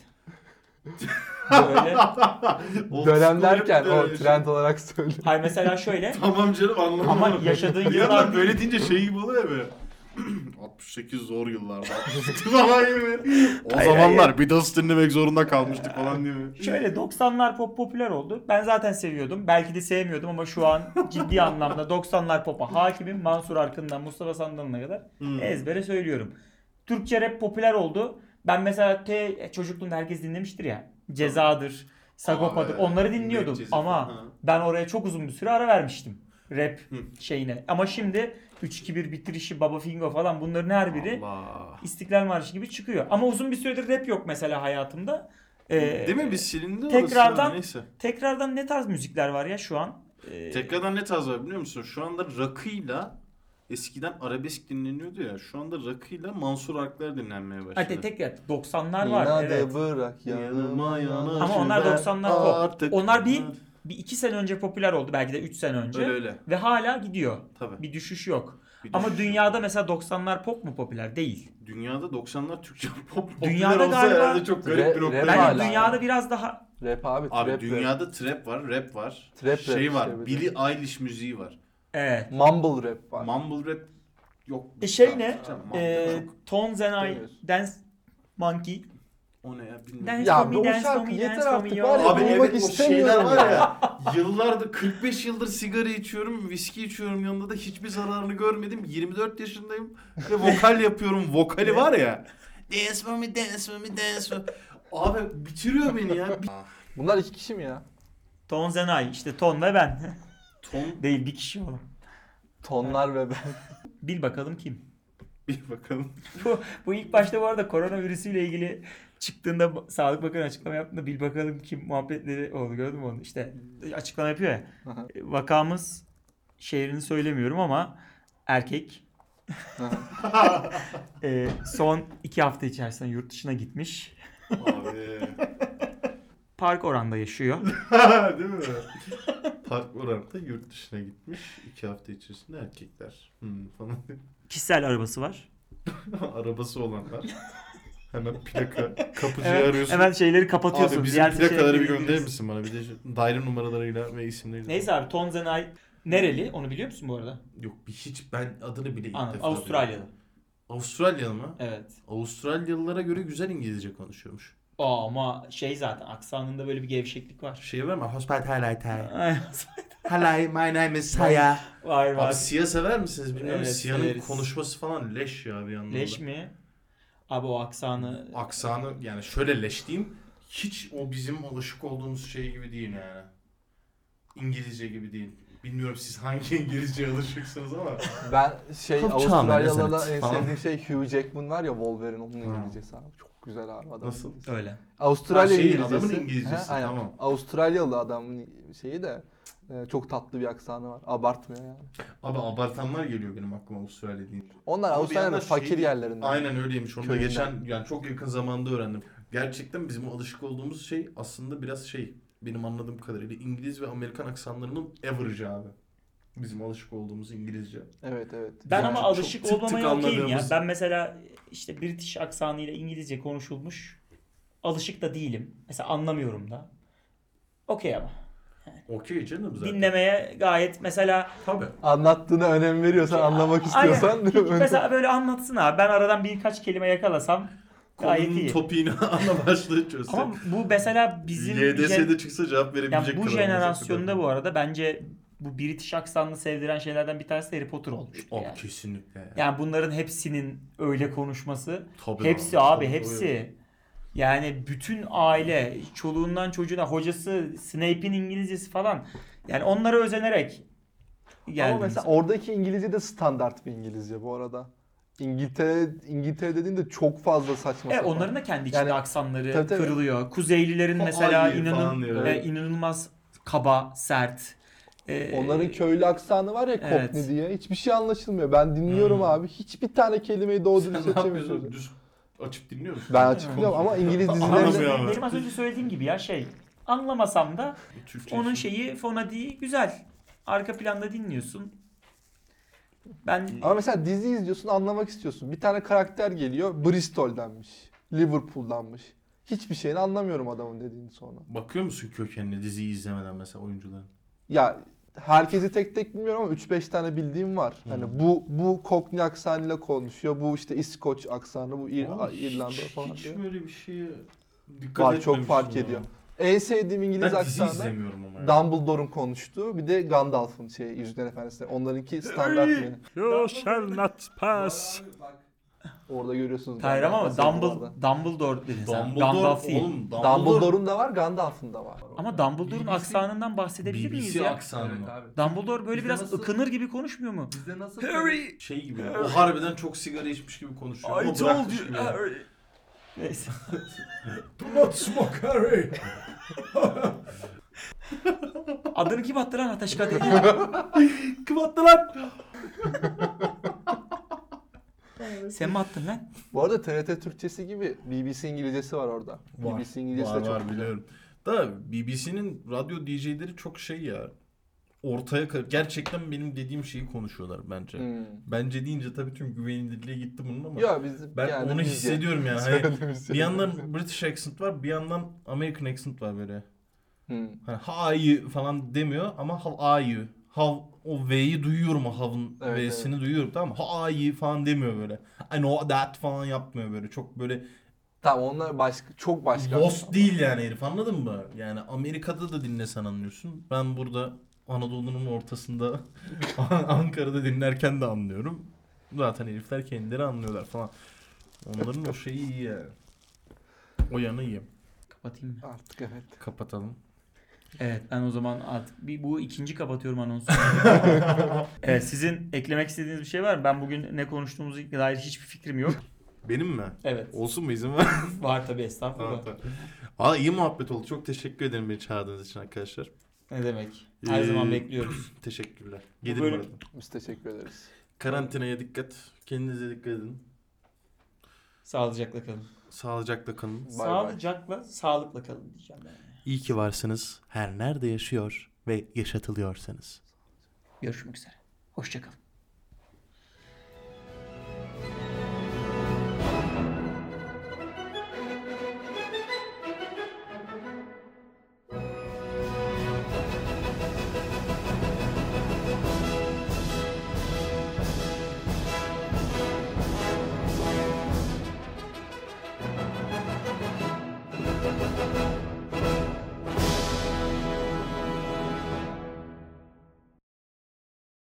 Böyle.
[LAUGHS] Old
Dönem
school şey- rap
derken o
dönemi.
trend olarak söyle.
Hayır mesela şöyle.
Tamam canım anlamadım.
Ama yaşadığın
Bir yandan
yıllar
böyle [LAUGHS] deyince şey gibi oluyor be. 68 zor yıllarda. 68 falan gibi. O
Hayır,
zamanlar bir Beatles dinlemek zorunda kalmıştık falan diye. mi?
Şöyle 90'lar pop popüler oldu. Ben zaten seviyordum. Belki de sevmiyordum ama şu an ciddi anlamda 90'lar popa hakimim. Mansur Arkın'dan Mustafa Sandal'ına kadar
Hmm.
ezbere söylüyorum. Türkçe rap popüler oldu. Ben mesela te çocukluğumda herkes dinlemiştir ya. Cezadır, Sagopa'dır.
Abi,
Onları dinliyordum
Medcezir
ama
falan.
ben oraya çok uzun bir süre ara vermiştim. Rap
Hı.
şeyine. Ama şimdi 3-2-1 bitirişi, Baba Fingo falan bunların her biri
Allah.
İstiklal Marşı gibi çıkıyor. Ama uzun bir süredir rap yok mesela hayatımda. Ee,
Değil mi? Biz silindi
tekrardan-
orası. Neyse.
Tekrardan ne tarz müzikler var ya şu an? Ee,
Tekrardan ne tarz var biliyor musun? Şu anda rakıyla eskiden arabesk dinleniyordu ya. Şu anda rakıyla Mansur Arklar dinlenmeye başladı.
ha, te- tekrar 90'lar var. Evet.
bırak yanıma yana.
Ama onlar
ben
90'lar pop.
artık-
Onlar bir- Bir iki sene önce popüler oldu belki de 3 sene önce.
Öyle öyle.
Ve hala gidiyor.
Tabii.
Bir düşüş yok.
Bir de şu-
Ama dünyada mesela 90'lar pop mu popüler? Değil.
Dünyada 90'lar Türkçe pop popüler
Dünyada
olsa
galiba-
herhalde çok garip
Rap-
bir noktaya
rap
Bence
geldi.
hala.
dünyada biraz daha
Rap abi. trap
Abi
rap.
dünyada trap var, rap var.
Trap rap
şey
işte
var,
bir de.
Billie Eilish müziği var.
evet.
Mumble rap var.
Mumble rap [LAUGHS] yok.
E şey ne?
Tamam, mumble
Ee,
çok-
Tones and I
Demiyorsun.
Dance Monkey.
o ne ya
Dance
bilmiyorum.
Ya
for me,
bu
dance for
şarkı
me,
yeter
dance for
artık
me,
var ya.
yo.
Abi
bulmak
evet o şeyler
istemiyorum
var ya. Yıllardır 45 yıldır sigara içiyorum, viski içiyorum yanında da hiçbir zararını görmedim. 24 yaşındayım ve vokal yapıyorum. Vokali var ya. Dance for me, dance for me, dance for Abi bitiriyor beni ya.
Bunlar iki kişi mi ya?
Tones and I. İşte Ton ve ben. [LAUGHS]
Ton
Değil bir kişi o.
Tonlar
[LAUGHS]
ve ben.
Bil bakalım kim.
bir bakalım.
Bu ilk başta bu arada koronavirüsüyle ilgili çıktığında Sağlık Bakanı açıklama yaptığında bil bakalım kim muhabbetleri oldu gördün mü onu? İşte açıklama yapıyor ya. E,
Aha.
Vakamız şehrini söylemiyorum ama erkek
Aha.
[LAUGHS] e, son iki hafta içerisinde yurt dışına gitmiş.
Abi.
Park oranda yaşıyor.
[LAUGHS] Değil mi? Park Orant'ta yurt dışına gitmiş. iki hafta içerisinde erkekler. Hmm, falan. [LAUGHS]
Kişisel arabası var.
Arabası olanlar. Hemen plaka. Kapıcıyı
Evet,
arıyorsun.
hemen şeyleri kapatıyorsun.
Abi bizim
Diğer
plakaları bir
seçenekleri
gönderir
bilmiyorsun.
misin bana? Bir de şu daire numaralarıyla ve isimleriyle.
Neyse abi Tom Zenay nereli? Onu biliyor musun bu arada?
Yok bir hiç ben adını bile ilk
Anladım.
defa
Avustralyalı.
duydum. Avustralyalı mı?
Evet.
Avustralyalılara göre güzel İngilizce konuşuyormuş.
Aa, ama şey zaten aksanında böyle bir gevşeklik var.
Şey var mı? Hospitality.
Ay,
Hello my name is Saya.
var var.
Abi Sia sever misiniz bilmiyorum.
Evet,
Sia'nın
severiz.
konuşması falan leş ya bir anlamda.
Leş mi? Abi o aksanı
aksanı yani şöyle leş diyeyim. Hiç o bizim alışık olduğumuz şey gibi değil yani. İngilizce gibi değil. Bilmiyorum siz hangi İngilizceye alışıksınız ama.
Ben şey
Çok
Avustralyalı'da
çağlar,
en
evet, falan.
sevdiğim şey Hugh Jackman var ya Wolverine onun
Ha.
İngilizcesi abi. Çok güzel abi adam.
Nasıl?
öyle.
Avustralya
Ha, şeyin,
İngilizcesi.
adamın İngilizcesi,
aynen.
tamam.
Avustralyalı adamın şeyi de e, çok tatlı bir aksanı var. Abartmıyor yani.
Abi abartanlar geliyor benim aklıma Avustralya deyince.
Onlar
Ama bir
Avustralya'nın
yandan
fakir
şey-
yerlerinden.
Aynen öyleymiş. Onu da
Köyünden.
geçen yani çok yakın zamanda öğrendim. Gerçekten bizim alışık olduğumuz şey aslında biraz şey benim anladığım kadarıyla İngiliz ve Amerikan aksanlarının average abi. Bizim alışık olduğumuz İngilizce.
Evet evet.
Ben
Yani
ama
çok
alışık
tık tık
olmamaya okeyim ya.
anladığımız-
Ben mesela işte British aksanıyla İngilizce konuşulmuş alışık da değilim. Mesela anlamıyorum da. Okey ama.
Okey canım zaten.
dinlemeye gayet mesela
Tabii.
Anlattığına önem veriyorsan, anlamak istiyorsan.
Aynen.
[LAUGHS]
mesela böyle anlatsın abi. Ben aradan birkaç kelime yakalasam gayet
Konunun
iyi.
[LAUGHS]
topiğini ana başlığı çözsek.
Ama bu mesela bizim
YDS'de çıksa cevap
yani
verebilecek
bu
kadar
jenerasyonda
olacak
bu arada bence bu British aksanını sevdiren şeylerden bir tanesi de Harry Potter olmuştu
Abi
yani.
kesinlikle. ya.
Yani bunların hepsinin öyle konuşması.
Tabii
Hepsi abi
Tabii, tabii.
hepsi. Yani bütün aile, çoluğundan çocuğuna, hocası, Snape'in İngilizcesi falan. Yani onlara özenerek geldim.
Ama mesela oradaki İngilizce de standart bir İngilizce bu arada. İngiltere, İngiltere dediğinde çok fazla saçma
E,
sapan.
onların da kendi içinde
Yani-
aksanları
Tabii, tabii.
kırılıyor. Kuzeylilerin
O
mesela
aynı falan
inanın,
diyor.
e, inanılmaz kaba, sert. E,
Onların köylü aksanı var ya Cockney
evet.
diye. Hiçbir şey anlaşılmıyor. Ben dinliyorum abi. Hiçbir tane kelimeyi doğru
Sen
düzgün
ne yapıyorsun?
seçemiyorsun.
Düz açıp dinliyor musun?
Ben açıklıyorum ama İngiliz
Anlamıyor
dizilerinde
ama.
Benim az önce söylediğim gibi ya şey. Anlamasam da
Türkçe
onun
için.
şeyi fonadiği güzel. Arka planda dinliyorsun. Ben [LAUGHS]
ama mesela dizi izliyorsun anlamak istiyorsun. Bir tane karakter geliyor Bristol'denmiş. Liverpool'danmış. Hiçbir şeyini anlamıyorum adamın dediğini sonra.
Bakıyor musun kökenine diziyi izlemeden mesela oyuncuların?
Ya herkesi tek tek bilmiyorum ama 3-5 tane bildiğim var. Hani bu bu Cockney aksanıyla konuşuyor. Bu işte İskoç aksanı, bu İr-
Abi
İrlanda
hiç,
falan
Hiç
diyor.
böyle bir şeye dikkat
Var çok
etmemiştim
fark
ya.
ediyor. En sevdiğim
Ben
İngiliz
dizi
aksanı
izlemiyorum ama. ya.
Dumbledore'un konuştuğu bir de Gandalf'ın şey Yüzükler Efendisi'nde. Onlarınki standart menü.
You shall not pass.
Orada görüyorsunuz.
Tayram ama
Gandalf'ın
Dumbledore,
orada.
Dumbledore dedin sen.
Dumbledore,
Gandalf değil.
oğlum Dumbledore.
Dumbledore'un da var, Gandalf'ın da var.
Ama Dumbledore'un
BBC
aksanından bahsedebilir miyiz
BBC
ya?
aksanı mı?
Dumbledore böyle
Bizde
biraz
nasıl-
ıkınır gibi konuşmuyor mu?
Bizde nasıl
Harry!
Şey gibi ya, o harbiden çok sigara içmiş gibi konuşuyor ama bırakmış gibi. ya.
Neyse.
Do not smoke Harry.
[LAUGHS] Adını kim attı lan Ateş Kadir?
Kim attı lan?
Sen mi attın lan?
Bu arada TRT Türkçesi gibi BBC İngilizcesi var orada. BBC İngilizcesi
var,
de çok
var, biliyorum. Da BBC'nin radyo DJ'leri çok şey ya. Ortaya kar- gerçekten benim dediğim şeyi konuşuyorlar bence.
Hmm.
Bence deyince tabii tüm güvenilirliğe gitti bunun ama.
Ya biz
ben
yani
onu
biz-
hissediyorum yani. Hani
Söylediğimiz
bir
şey.
yandan British accent var, bir yandan American accent var böyle.
Hmm.
Hani how are you falan demiyor ama how are you? How o V'yi duyuyorum o how'ın
Evet,
V'sini duyuyorum tamam mı? How are you falan demiyor böyle. I know that falan yapmıyor böyle. Çok böyle
Tamam onlar başka çok başka.
Lost değil yani herif anladın mı? Yani Amerika'da da dinlesen anlıyorsun. Ben burada Anadolu'nun ortasında [LAUGHS] An- Ankara'da dinlerken de anlıyorum. Zaten herifler kendileri anlıyorlar falan. Onların o şeyi iyi yani. O yanı iyi.
Kapatayım mı?
Artık evet.
Kapatalım.
Evet ben o zaman artık bir, bu ikinci kapatıyorum anonsu. evet sizin eklemek istediğiniz bir şey var mı? Ben bugün ne konuştuğumuzu dair hiçbir fikrim yok.
Benim mi?
Evet.
Olsun mu izin ver?
Var tabii estağfurullah.
Tamam, tamam. Aa iyi muhabbet oldu. Çok teşekkür ederim beni çağırdığınız için arkadaşlar.
Ne demek? Her
Ee,
zaman bekliyoruz.
Teşekkürler.
Bu
Gelirim
bölüm-
arada.
Biz teşekkür ederiz.
Karantinaya dikkat. Kendinize dikkat edin.
Sağlıcakla kalın.
Sağlıcakla kalın.
Bay bay.
Sağlıcakla, sağlıkla kalın diyeceğim ben.
İyi ki varsınız. Her nerede yaşıyor ve yaşatılıyorsanız.
Görüşmek üzere. Hoşçakalın.